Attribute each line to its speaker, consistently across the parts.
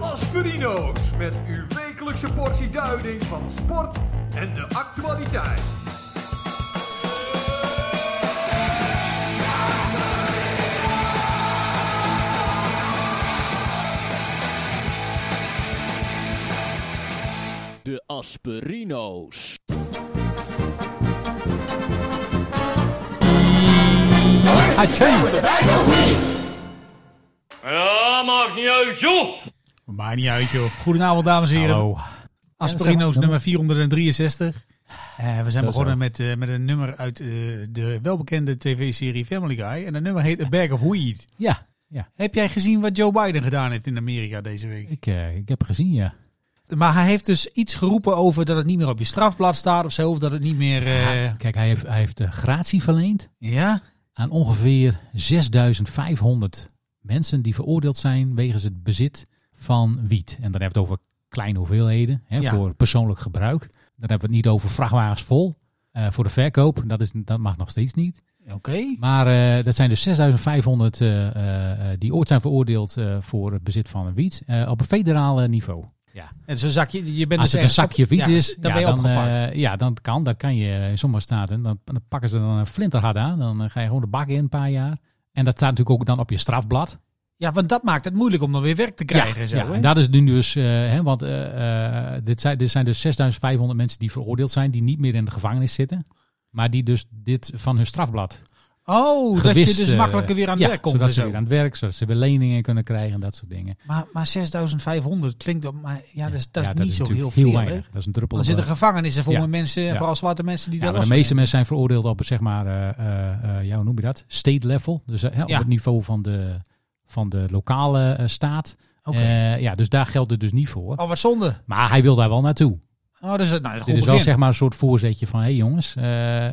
Speaker 1: Gasperino's met uw wekelijkse portie duiding van sport en de actualiteit.
Speaker 2: De Asperino's.
Speaker 3: Ja, maakt niet uit, joh.
Speaker 4: Maar niet uit, joh. Goedenavond, dames en heren. Asperino's nummer 463. Eh, we zijn begonnen Met, eh, met een nummer uit eh, de welbekende tv-serie Family Guy. En dat nummer heet A Bag of Weed.
Speaker 5: Ja,
Speaker 4: Heb jij gezien wat Joe Biden gedaan heeft in Amerika deze week?
Speaker 5: ik, eh, ik heb gezien, ja.
Speaker 4: Maar hij heeft dus iets geroepen over dat het niet meer op je strafblad staat of zo. Of dat het niet meer... eh,
Speaker 5: Kijk, hij heeft, hij heeft eh, gratie verleend
Speaker 4: ja?
Speaker 5: aan ongeveer 6500 mensen die veroordeeld zijn wegens het bezit van wiet. En dan hebben we het over kleine hoeveelheden hè,
Speaker 4: Ja.
Speaker 5: voor persoonlijk gebruik. Dan hebben we het niet over vrachtwagens vol eh, voor de verkoop. Dat, is, dat mag nog steeds niet.
Speaker 4: Oké.
Speaker 5: Maar eh, dat zijn dus 6500 eh, eh, eh, die ooit zijn veroordeeld eh, voor het bezit van wiet eh, op een federaal eh, niveau.
Speaker 4: En zo'n zakje... Je bent
Speaker 5: Als
Speaker 4: dus
Speaker 5: het een
Speaker 4: ergens op-
Speaker 5: zakje wiet
Speaker 4: ja,
Speaker 5: is,
Speaker 4: Dan
Speaker 5: ja,
Speaker 4: ben je
Speaker 5: eh,
Speaker 4: opgepakt.
Speaker 5: ja, dan kan. Dat kan je in sommige staten. Dan, dan pakken ze dan een flinterhard aan. Dan eh, ga je gewoon de bak in een paar jaar. En dat staat natuurlijk ook dan op je strafblad.
Speaker 4: ja, want dat maakt het moeilijk om dan weer werk te krijgen. en zo,
Speaker 5: ja,
Speaker 4: hè?
Speaker 5: en dat is nu dus, eh, hè, want eh, eh, dit, zijn, dit zijn dus 6500 mensen die veroordeeld zijn, die niet meer in de gevangenis zitten. Maar die dus dit van hun strafblad
Speaker 4: Oh, dat je
Speaker 5: gewist,
Speaker 4: dus
Speaker 5: eh,
Speaker 4: makkelijker weer aan het
Speaker 5: ja,
Speaker 4: werk komt.
Speaker 5: Zodat
Speaker 4: en
Speaker 5: ze
Speaker 4: zo.
Speaker 5: weer aan het werk, zodat ze weer leningen kunnen krijgen en dat soort dingen.
Speaker 4: Maar, maar 6500 klinkt dat, maar ja, dat is, dat is
Speaker 5: Ja,
Speaker 4: niet zo heel
Speaker 5: natuurlijk
Speaker 4: veel. hè?
Speaker 5: weinig. Dat is een druppel.
Speaker 4: Dan
Speaker 5: op een-
Speaker 4: zitten gevangenissen vol
Speaker 5: Ja.
Speaker 4: met mensen,
Speaker 5: Ja.
Speaker 4: vooral zwarte mensen die
Speaker 5: Ja,
Speaker 4: daar
Speaker 5: maar de
Speaker 4: last
Speaker 5: meeste
Speaker 4: van
Speaker 5: mensen zijn veroordeeld op, zeg maar, eh, eh, eh, ja, hoe noem je dat? State level. Dus eh, hè, op
Speaker 4: Ja.
Speaker 5: het niveau van de, van de lokale eh, staat.
Speaker 4: hebben. Oké.
Speaker 5: Eh, ja, dus daar geldt het dus niet voor.
Speaker 4: Oh, wat zonde.
Speaker 5: Maar hij wil daar wel naartoe.
Speaker 4: Oh, dus, nou, een goed
Speaker 5: Dit is wel
Speaker 4: begin.
Speaker 5: zeg maar een soort voorzetje van, hé hey jongens, eh,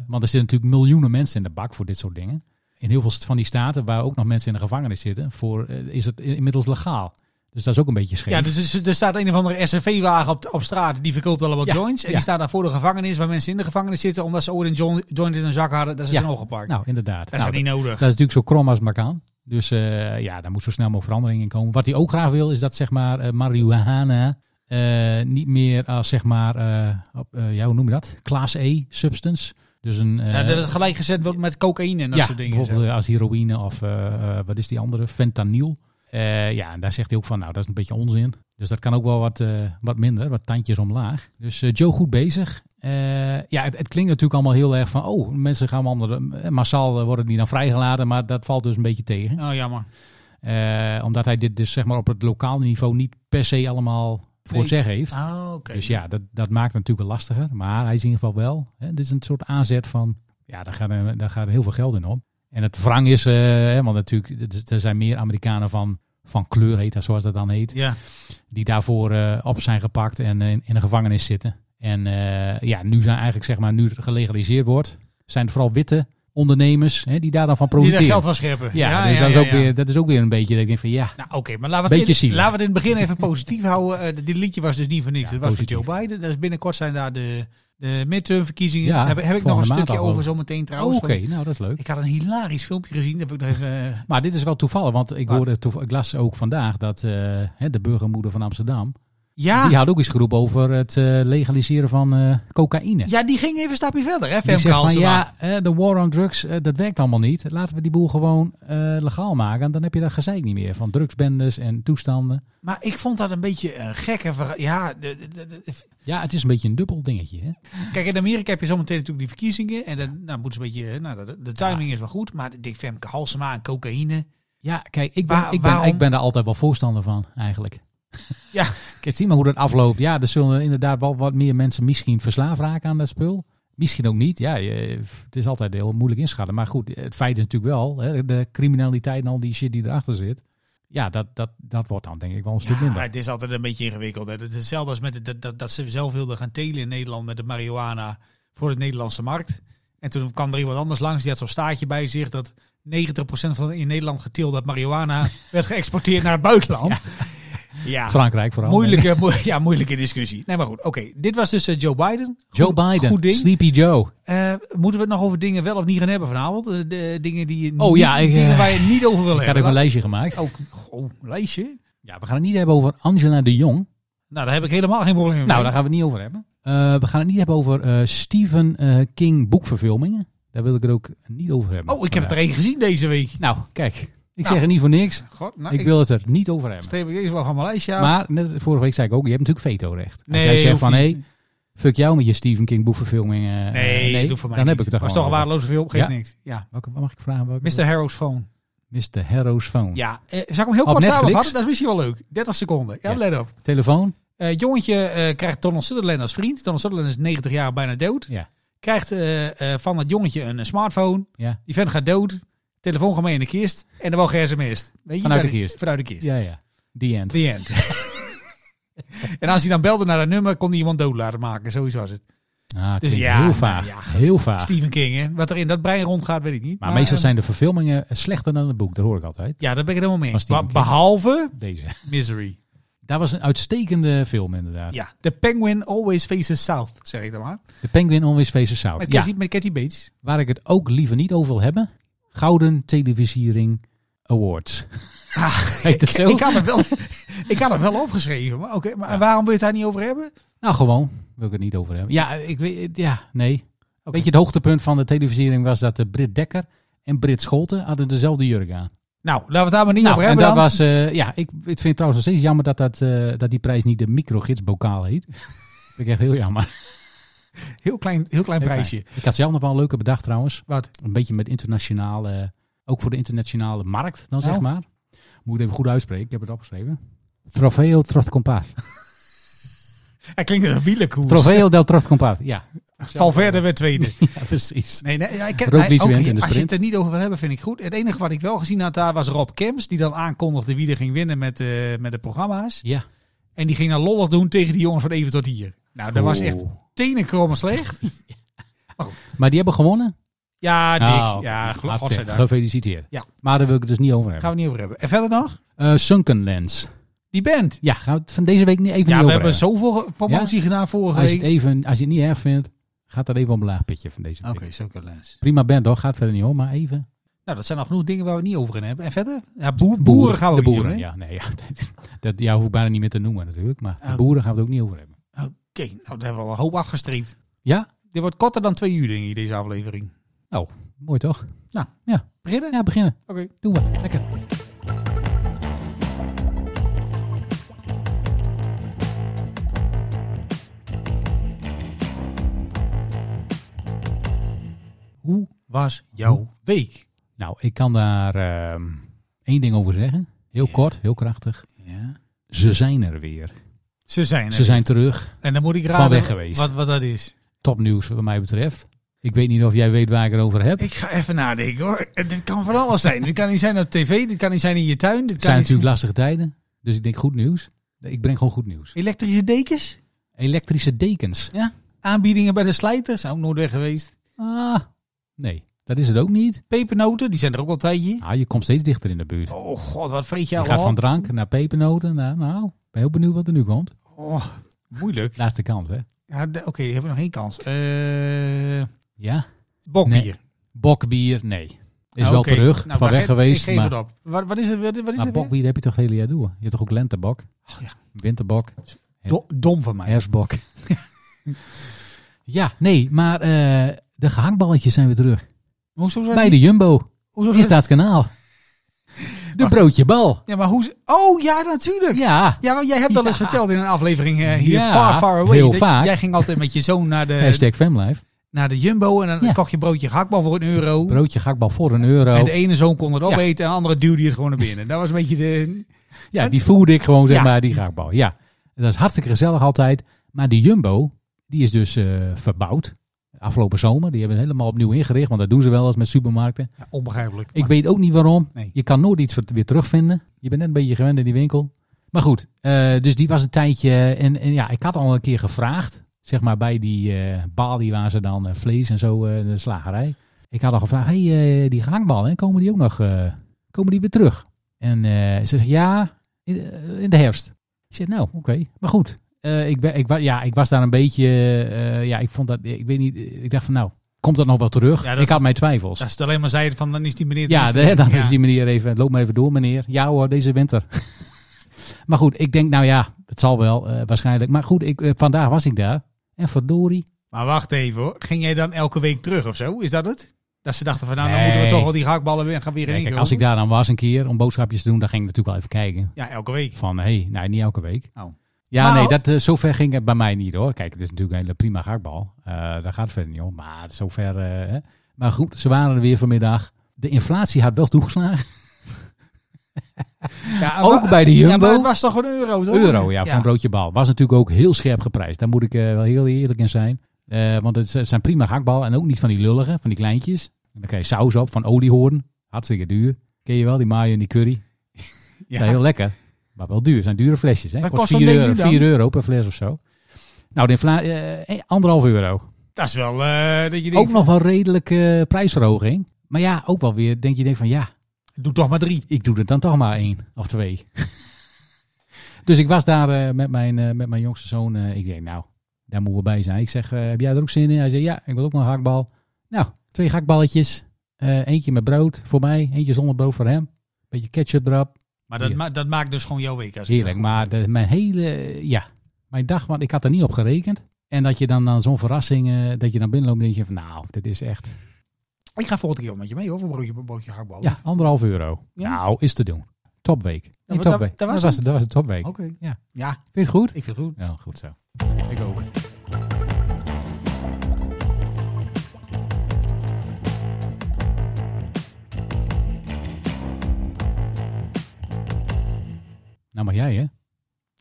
Speaker 5: want er zitten natuurlijk miljoenen mensen in de bak voor dit soort dingen. In heel veel van die staten waar ook nog mensen in de gevangenis zitten, voor, eh, is het in- inmiddels legaal. Dus dat is ook een beetje scheef.
Speaker 4: ja, dus, dus er staat een of andere SRV-wagen op, op straat, die verkoopt allemaal
Speaker 5: Ja,
Speaker 4: joints. En
Speaker 5: ja.
Speaker 4: die staat daar voor de gevangenis, waar mensen in de gevangenis zitten, omdat ze ooit een join- joint in hun zak hadden, dat ze
Speaker 5: Ja.
Speaker 4: zijn opgepakt.
Speaker 5: nou, inderdaad.
Speaker 4: dat is
Speaker 5: Nou,
Speaker 4: niet nodig.
Speaker 5: Dat is natuurlijk zo krom als het maar kan. Dus eh, ja, daar moet zo snel mogelijk verandering in komen. Wat hij ook graag wil, is dat zeg maar eh, marihuana eh, niet meer als zeg maar, eh, op, eh, ja, hoe noem je dat? Class E substance. Dus een, eh,
Speaker 4: ja, dat het gelijk gezet wordt met cocaïne en dat
Speaker 5: ja,
Speaker 4: soort dingen. en zo.
Speaker 5: bijvoorbeeld eh, als heroïne of eh, eh, wat is die andere? Fentanyl. Eh, ja, en daar zegt hij ook van, nou, dat is een beetje onzin. Dus dat kan ook wel wat, eh, wat minder, wat tandjes omlaag. Dus eh, Joe goed bezig. Eh, ja, het, het klinkt natuurlijk allemaal heel erg van, oh, mensen gaan allemaal, eh, massaal eh, worden die dan vrijgelaten, maar dat valt dus een beetje tegen.
Speaker 4: Oh, jammer.
Speaker 5: Eh, omdat hij dit dus zeg maar op het lokale niveau niet per se allemaal voor
Speaker 4: Nee.
Speaker 5: het zeggen heeft.
Speaker 4: Ah, oké.
Speaker 5: Dus ja, dat, dat maakt het natuurlijk wel lastiger. Maar hij is in ieder geval wel. Hè, dit is een soort aanzet van. Ja, daar gaat, eh, daar gaat heel veel geld in om. En het wrang is. eh, hè, want natuurlijk, het is- er zijn meer Amerikanen van, van kleur, heet dat, zoals dat dan heet.
Speaker 4: Ja.
Speaker 5: Die daarvoor eh, op zijn gepakt en eh, in, in de gevangenis zitten. En eh, ja, nu zijn eigenlijk, zeg maar, nu het gelegaliseerd wordt. zijn het vooral witte ondernemers hè, die daar dan van
Speaker 4: Die daar
Speaker 5: profiteren.
Speaker 4: geld van scheppen.
Speaker 5: ja, dus dat,
Speaker 4: ja,
Speaker 5: is ook
Speaker 4: ja.
Speaker 5: Weer, dat is ook weer een beetje. Dat ik denk van ja.
Speaker 4: Nou, oké, maar laten we, het
Speaker 5: Beetje
Speaker 4: in,
Speaker 5: zielig.
Speaker 4: laten we het in het begin even positief houden. Eh, dit liedje was dus niet voor niks.
Speaker 5: Ja,
Speaker 4: Het was
Speaker 5: positief.
Speaker 4: voor Joe Biden. Dus binnenkort zijn daar de, de midtermverkiezingen.
Speaker 5: Ja,
Speaker 4: heb, heb ik nog
Speaker 5: volgende
Speaker 4: een
Speaker 5: maand
Speaker 4: stukje
Speaker 5: al wel.
Speaker 4: over zometeen trouwens.
Speaker 5: Oké,
Speaker 4: want
Speaker 5: nou dat is leuk.
Speaker 4: Ik had een hilarisch filmpje gezien. Dat heb ik nog even. eh,
Speaker 5: Maar dit is wel toevallig, want ik,
Speaker 4: Wat?
Speaker 5: hoorde, toev- ik las ook vandaag dat eh, hè, de burgermoeder van Amsterdam,
Speaker 4: ja,
Speaker 5: die had ook eens geroepen over het eh, legaliseren van eh, cocaïne.
Speaker 4: ja, die ging even een stapje verder, hè,
Speaker 5: Die
Speaker 4: Femke
Speaker 5: zegt van
Speaker 4: Halsema.
Speaker 5: ja, eh, de war on drugs, eh, dat werkt allemaal niet. Laten we die boel gewoon eh, legaal maken. En dan heb je dat gezeik niet meer van drugsbendes en toestanden.
Speaker 4: Maar ik vond dat een beetje eh, een gekke. verha- Ja, de- de- de- de-
Speaker 5: Ja, het is een beetje een dubbel dingetje. Hè?
Speaker 4: kijk, in Amerika heb je zometeen natuurlijk die verkiezingen. En dan nou, moet ze een beetje. eh, Nou, de, de timing is wel goed. Maar ik denk Femke Halsema en cocaïne.
Speaker 5: Ja, kijk, ik ben,
Speaker 4: Waar-
Speaker 5: ik, ben,
Speaker 4: waarom-
Speaker 5: ik ben daar altijd wel voorstander van, eigenlijk.
Speaker 4: Ja.
Speaker 5: Kijk, zie maar hoe dat afloopt. Ja, er zullen inderdaad wel wat meer mensen misschien verslaafd raken aan dat spul. Misschien ook niet. Ja, je- het is altijd heel moeilijk inschatten. Maar goed, het feit is natuurlijk wel, hè, de criminaliteit en al die shit die erachter zit. Ja, dat, dat, dat wordt dan denk ik wel een stuk
Speaker 4: Ja,
Speaker 5: minder.
Speaker 4: het is altijd een beetje ingewikkeld. Hè. Het is hetzelfde als met het, dat, dat, dat ze zelf wilden gaan telen in Nederland met de marihuana voor de Nederlandse markt. En toen kwam er iemand anders langs, die had zo'n staartje bij zich dat 90% van de in Nederland geteelde marihuana werd geëxporteerd naar het buitenland. Ja,
Speaker 5: Frankrijk vooral.
Speaker 4: moeilijke, moe- ja, moeilijke discussie. Nee, maar goed. Oké, dit was dus eh, Joe Biden.
Speaker 5: Joe
Speaker 4: Goed-
Speaker 5: Biden,
Speaker 4: Goed ding.
Speaker 5: Sleepy Joe.
Speaker 4: Eh, moeten we het nog over dingen wel of niet gaan hebben vanavond? Eh, de, dingen die je
Speaker 5: Oh
Speaker 4: niet-
Speaker 5: ja, ik, eh,
Speaker 4: dingen waar je het niet over wil
Speaker 5: Ik had even
Speaker 4: hebben.
Speaker 5: een lijstje gemaakt.
Speaker 4: Ook, oh, lijstje?
Speaker 5: Ja, we gaan het niet hebben over Angela de Jong.
Speaker 4: Nou, daar heb ik helemaal geen probleem mee.
Speaker 5: Nou, daar gaan we het niet over hebben. Eh, we gaan het niet hebben over eh, Stephen eh, King boekverfilmingen. Daar wil ik het ook niet over hebben.
Speaker 4: Oh, ik heb er één gezien deze week.
Speaker 5: Nou, kijk. Ik zeg het niet voor niks.
Speaker 4: God, nou,
Speaker 5: ik, wil het er niet over hebben.
Speaker 4: Streep ik deze wel van mijn lijstje af.
Speaker 5: Maar net vorige week zei ik ook, je hebt natuurlijk veto-recht. Als jij zegt
Speaker 4: hoeft
Speaker 5: van, hé,
Speaker 4: niet.
Speaker 5: hey, fuck jou met je Stephen King boekverfilming. eh, eh,
Speaker 4: Nee, dat hoeft voor mij
Speaker 5: Dan
Speaker 4: niet.
Speaker 5: heb ik het er
Speaker 4: Dat
Speaker 5: gewoon
Speaker 4: is toch een
Speaker 5: over.
Speaker 4: waardeloze film, geeft
Speaker 5: Ja.
Speaker 4: niks. Ja.
Speaker 5: Welke, wat mag ik vragen? Welke,
Speaker 4: Mr. Harrow's Phone.
Speaker 5: Mr. Harrow's Phone.
Speaker 4: Ja, eh, zal ik hem heel
Speaker 5: Oh, Op
Speaker 4: kort
Speaker 5: Netflix?
Speaker 4: samenvatten? Dat is misschien wel leuk. 30 seconden. Ja,
Speaker 5: Ja.
Speaker 4: let op.
Speaker 5: Telefoon?
Speaker 4: Eh jongetje eh, krijgt Donald Sutherland als vriend. Donald Sutherland is 90 jaar bijna dood.
Speaker 5: Ja.
Speaker 4: Krijgt eh, eh, van dat jongetje een, eh, smartphone.
Speaker 5: Ja.
Speaker 4: Die vent gaat dood. Telefoon gaat mee in de kist. En dan wel ge-sms'd. Weet je,
Speaker 5: Vanuit de
Speaker 4: bij
Speaker 5: kist.
Speaker 4: Vanuit de kist.
Speaker 5: Ja, ja. The end.
Speaker 4: The end. en als hij dan belde naar dat nummer, kon hij iemand dood laten maken. Zoiets was het.
Speaker 5: Ah,
Speaker 4: Dus
Speaker 5: klinkt
Speaker 4: ja,
Speaker 5: heel
Speaker 4: nou
Speaker 5: vaag.
Speaker 4: ja, goed.
Speaker 5: heel vaag.
Speaker 4: Stephen King, hè. Wat er in dat brein rondgaat, weet ik niet.
Speaker 5: Maar, meestal
Speaker 4: eh,
Speaker 5: zijn de verfilmingen slechter dan het boek. Dat hoor ik altijd.
Speaker 4: Ja, daar ben ik het helemaal mee eens.
Speaker 5: Van Stephen
Speaker 4: Be-
Speaker 5: King.
Speaker 4: Behalve
Speaker 5: Deze.
Speaker 4: Misery.
Speaker 5: Daar was een uitstekende film inderdaad.
Speaker 4: Ja. The Penguin Always Faces South, zeg ik dan maar.
Speaker 5: De Penguin Always Faces South.
Speaker 4: Met
Speaker 5: Ja,
Speaker 4: Cathy, met Kathy Bates.
Speaker 5: waar ik het ook liever niet over wil hebben. Gouden Televisiering Awards. Heet het Ah, zo?
Speaker 4: Ah, Ik had, het wel, ik had het wel opgeschreven, maar, oké, maar
Speaker 5: Ja.
Speaker 4: waarom wil je het daar niet over hebben?
Speaker 5: Nou, gewoon. Wil ik het niet over hebben. Ja, ik weet, ja nee. Weet je, het hoogtepunt van de televisiering was dat de Britt Dekker en Britt Scholten hadden dezelfde jurk aan.
Speaker 4: Nou, laten we het daar maar niet over
Speaker 5: en
Speaker 4: hebben
Speaker 5: dat
Speaker 4: dan.
Speaker 5: was, eh, ja, ik, ik vind het trouwens nog steeds jammer dat, dat, eh, dat die prijs niet de microgidsbokaal heet. dat vind ik echt heel jammer.
Speaker 4: Heel klein, heel klein
Speaker 5: Heel
Speaker 4: prijsje.
Speaker 5: fijn. Ik had zelf nog wel een leuke bedacht trouwens.
Speaker 4: Wat?
Speaker 5: Een beetje met internationale, ook voor de internationale markt dan zeg
Speaker 4: Nou.
Speaker 5: maar. Moet ik het even goed uitspreken, ik heb het opgeschreven. Trofeo Trotcompaaf.
Speaker 4: Hij klinkt als een wielerkoers.
Speaker 5: Trofeo del Trotcompaaf, ja.
Speaker 4: Valverde werd tweede.
Speaker 5: ja, precies.
Speaker 4: Nee, nee, ja, ik heb,
Speaker 5: Roglic
Speaker 4: nee, oké,
Speaker 5: wint in de
Speaker 4: als je
Speaker 5: sprint.
Speaker 4: het er niet over wil hebben, vind ik goed. Het enige wat ik wel gezien had daar was Rob Kems, die dan aankondigde wie er ging winnen met, eh, met de programma's.
Speaker 5: Ja.
Speaker 4: En die ging dan lollig doen tegen die jongens van even tot hier. Nou, dat was echt
Speaker 5: Oeh.
Speaker 4: tenenkrommend slecht.
Speaker 5: Oh. Maar die hebben gewonnen?
Speaker 4: Ja, dik.
Speaker 5: Ah, oké.
Speaker 4: Ja, gl-
Speaker 5: Hartstikke.
Speaker 4: godzijdank.
Speaker 5: Gefeliciteerd.
Speaker 4: Ja.
Speaker 5: Maar daar wil ik het dus niet over
Speaker 4: Gaan
Speaker 5: hebben.
Speaker 4: we het niet over hebben. En verder nog?
Speaker 5: Eh, sunken Lens.
Speaker 4: Die band.
Speaker 5: Ja, gaan we het van deze week niet even niet
Speaker 4: Ja,
Speaker 5: over
Speaker 4: we hebben
Speaker 5: hebben.
Speaker 4: zoveel ge- promotie gedaan vorige
Speaker 5: Als je, het
Speaker 4: week.
Speaker 5: even, als je het niet erg vindt, gaat dat even omlaag pitje van deze week.
Speaker 4: zo kan les.
Speaker 5: Prima band hoor, gaat verder niet hoor, maar even.
Speaker 4: Nou, dat zijn al genoeg dingen waar we het niet over in hebben. En verder? Ja, boer- boeren, gaan
Speaker 5: de
Speaker 4: we ook niet
Speaker 5: boeren,
Speaker 4: doen, hè?
Speaker 5: ja, nee, ja, dat, dat ja, hoef ik bijna niet meer te noemen natuurlijk, maar
Speaker 4: Oh.
Speaker 5: de boeren gaan we het ook niet over hebben.
Speaker 4: Oké, nou, daar hebben we al een hoop afgestreept.
Speaker 5: Ja,
Speaker 4: Dit wordt korter dan twee uur, denk ik, deze aflevering.
Speaker 5: mooi toch?
Speaker 4: Nou,
Speaker 5: ja,
Speaker 4: Beginnen?
Speaker 5: ja beginnen.
Speaker 4: Oké.
Speaker 5: Doen we. Lekker.
Speaker 4: Hoe was jouw week?
Speaker 5: Nou, ik kan daar ehm, één ding over zeggen. Heel kort, heel krachtig.
Speaker 4: Ja.
Speaker 5: Ze zijn er weer.
Speaker 4: Ze zijn er.
Speaker 5: Ze zijn terug.
Speaker 4: En dan moet ik
Speaker 5: van
Speaker 4: raden
Speaker 5: weg geweest.
Speaker 4: Wat, wat dat is.
Speaker 5: Topnieuws wat mij betreft. Ik weet niet of jij weet waar ik het over heb.
Speaker 4: Ik ga even nadenken, hoor. Eh, Dit kan van alles zijn. dit kan niet zijn op tv, dit kan niet zijn in je tuin. Dit
Speaker 5: Het
Speaker 4: kan
Speaker 5: zijn
Speaker 4: niet
Speaker 5: natuurlijk lastige tijden. Dus ik denk goed nieuws. Ik breng gewoon goed nieuws.
Speaker 4: Elektrische dekens?
Speaker 5: Elektrische dekens.
Speaker 4: Aanbiedingen bij de slijter? Zijn ook nooit weg geweest.
Speaker 5: Ah, nee. Dat is het ook niet.
Speaker 4: Pepernoten? Die zijn er ook al een tijdje.
Speaker 5: Ah, je komt steeds dichter in de buurt.
Speaker 4: Oh god, wat vreet je
Speaker 5: Je
Speaker 4: allemaal?
Speaker 5: gaat van drank naar pepernoten. Naar, nou, ik ben heel benieuwd wat er nu komt.
Speaker 4: Oh, moeilijk.
Speaker 5: Laatste kans, hè?
Speaker 4: Ja, de- Oké, hebben we nog één kans. Eh
Speaker 5: Ja.
Speaker 4: bokbier.
Speaker 5: Nee, Bokbier, nee. Is
Speaker 4: Ah,
Speaker 5: wel
Speaker 4: oké.
Speaker 5: terug,
Speaker 4: Nou,
Speaker 5: van
Speaker 4: maar
Speaker 5: weg
Speaker 4: ge-
Speaker 5: geweest.
Speaker 4: Ik geef
Speaker 5: maar
Speaker 4: het op. Wat, wat is het, wat, wat is
Speaker 5: maar
Speaker 4: het weer?
Speaker 5: bokbier heb je toch het hele jaar door. Je hebt toch ook lentebok,
Speaker 4: Oh, ja.
Speaker 5: winterbok,
Speaker 4: Do- dom van mij.
Speaker 5: herfstbok. ja, nee, maar eh, de gehaktballetjes zijn weer terug.
Speaker 4: Hoezo zijn
Speaker 5: Bij
Speaker 4: Oh, die-
Speaker 5: de Jumbo,
Speaker 4: hoezo
Speaker 5: in
Speaker 4: zijn-
Speaker 5: Staatskanaal. De
Speaker 4: Wacht.
Speaker 5: broodjebal.
Speaker 4: Ja, maar hoe... Oh ja, natuurlijk. Ja.
Speaker 5: Ja,
Speaker 4: want jij hebt al eens
Speaker 5: Ja.
Speaker 4: verteld in een aflevering eh, hier,
Speaker 5: Ja,
Speaker 4: far, far away.
Speaker 5: heel
Speaker 4: dat-
Speaker 5: vaak.
Speaker 4: Jij ging altijd met je zoon naar de,
Speaker 5: hashtag Femlife.
Speaker 4: naar de Jumbo en dan
Speaker 5: Ja.
Speaker 4: kocht je broodje gehaktbal voor een euro.
Speaker 5: Broodje gehaktbal voor een euro.
Speaker 4: En de ene zoon kon het
Speaker 5: Ja.
Speaker 4: opeten en de andere duwde het gewoon naar binnen. Dat was een beetje de...
Speaker 5: Ja, die voerde ik gewoon, zeg
Speaker 4: Ja.
Speaker 5: maar, die gehaktbal. Ja, dat is hartstikke gezellig altijd. Maar die Jumbo, die is dus eh, verbouwd. Afgelopen zomer, die hebben het helemaal opnieuw ingericht. Want dat doen ze wel eens met supermarkten.
Speaker 4: Ja, onbegrijpelijk.
Speaker 5: Ik weet ook niet waarom.
Speaker 4: Nee.
Speaker 5: Je kan nooit iets weer terugvinden. Je bent net een beetje gewend in die winkel. Maar goed, eh, dus die was een tijdje. eh, En, en ja, ik had al een keer gevraagd. Zeg maar bij die eh balie waar ze dan eh, vlees en zo, eh, de slagerij. Ik had al gevraagd, hey, eh, die gehaktballen, komen die ook nog, eh, komen die weer terug? En eh, ze zegt, ja, in, eh, in de herfst. Ik zeg, nou, oké, maar goed. Eh, ik, ben, ik, wa- ja, ik was daar een beetje, eh, ja, ik vond dat, ik weet niet, ik dacht van nou, komt dat nog wel terug?
Speaker 4: Ja, dat
Speaker 5: ik had
Speaker 4: is-
Speaker 5: mijn twijfels.
Speaker 4: Als het alleen maar zei van, dan is die meneer...
Speaker 5: Ja,
Speaker 4: tenminste-
Speaker 5: de, dan
Speaker 4: Ja.
Speaker 5: is die meneer even. Loop maar even door, meneer. Ja hoor, deze winter. Maar goed, ik denk, nou ja, het zal wel eh, waarschijnlijk. Maar goed, ik, eh, vandaag was ik daar. En verdorie.
Speaker 4: Maar wacht even hoor. Ging jij dan elke week terug of zo? Is dat het? Dat ze dachten van nou, dan
Speaker 5: Nee.
Speaker 4: moeten we toch wel die hakballen weer gaan weer in
Speaker 5: Ja,
Speaker 4: één
Speaker 5: kijk,
Speaker 4: keer
Speaker 5: als ik
Speaker 4: roepen.
Speaker 5: daar dan was een keer om boodschapjes te doen, dan ging ik natuurlijk wel even kijken.
Speaker 4: Ja, elke week.
Speaker 5: Van, hé, hey, nee, niet elke week.
Speaker 4: Oh.
Speaker 5: Ja,
Speaker 4: Maar
Speaker 5: nee,
Speaker 4: al-
Speaker 5: dat, eh, zover ging het bij mij niet hoor. Kijk, het is natuurlijk een hele prima gehaktbal. Eh, daar gaat het verder niet om. Maar zover... eh, hè. Maar goed, ze waren er weer vanmiddag. De inflatie had wel toegeslagen.
Speaker 4: Ja,
Speaker 5: Ook
Speaker 4: maar-
Speaker 5: bij de
Speaker 4: Ja,
Speaker 5: Jumbo.
Speaker 4: maar het was toch een euro? Toch?
Speaker 5: Euro, ja, voor een broodje bal. Was natuurlijk ook heel scherp geprijsd. Daar moet ik eh, wel heel eerlijk in zijn. Eh, want het z- zijn prima gehaktballen. En ook niet van die lullige, van die kleintjes. En dan krijg je saus op van oliehoorn. Hartstikke duur. Ken je wel, die mayo en die curry.
Speaker 4: Ja.
Speaker 5: Zijn heel lekker. Maar wel duur. Zijn dure flesjes. Hè?
Speaker 4: Wat
Speaker 5: Kost
Speaker 4: kost zo'n
Speaker 5: 4
Speaker 4: ding
Speaker 5: euro,
Speaker 4: nu dan?
Speaker 5: 4 euro per fles of zo. Nou, de infla- eh, eh, anderhalf euro.
Speaker 4: Dat is wel eh, dat je denkt,
Speaker 5: Ook nog wel redelijke prijsverhoging. Maar ja, ook wel weer denk je denkt van ja,
Speaker 4: doe toch maar drie.
Speaker 5: ik doe er dan toch maar één of twee. dus ik was daar eh, met, mijn, eh, met mijn jongste zoon. eh, ik denk, nou, daar moeten we bij zijn. Ik zeg, eh, heb jij er ook zin in? Hij zei, ja, ik wil ook nog een hakbal. Nou, twee hakballetjes. Eh, eentje met brood voor mij, eentje zonder brood voor hem. Beetje ketchup erop.
Speaker 4: Maar dat,
Speaker 5: Ja.
Speaker 4: ma- dat maakt dus gewoon jouw week. Als ik
Speaker 5: Heerlijk.
Speaker 4: dat goed
Speaker 5: Maar
Speaker 4: heb.
Speaker 5: de- mijn hele, eh, ja, mijn dag, want ik had er niet op gerekend. En dat je dan aan zo'n verrassing, eh, dat je dan binnenloopt en denk je van, nou, dit is echt,
Speaker 4: Ik ga volgende keer wel met je mee hoor, voor een broodje, broodje hakballen.
Speaker 5: ja, anderhalf euro.
Speaker 4: Oh. Ja.
Speaker 5: Nou, is te doen. Topweek. Nee,
Speaker 4: maar dat-
Speaker 5: topweek.
Speaker 4: dat was
Speaker 5: Dat
Speaker 4: Oh.
Speaker 5: was, dat was de topweek.
Speaker 4: Oké.
Speaker 5: Vind
Speaker 4: Ja.
Speaker 5: Ja.
Speaker 4: ja,
Speaker 5: je het goed?
Speaker 4: ik vind het goed.
Speaker 5: Ja, goed zo. Ik ook. Nou, maar jij hè?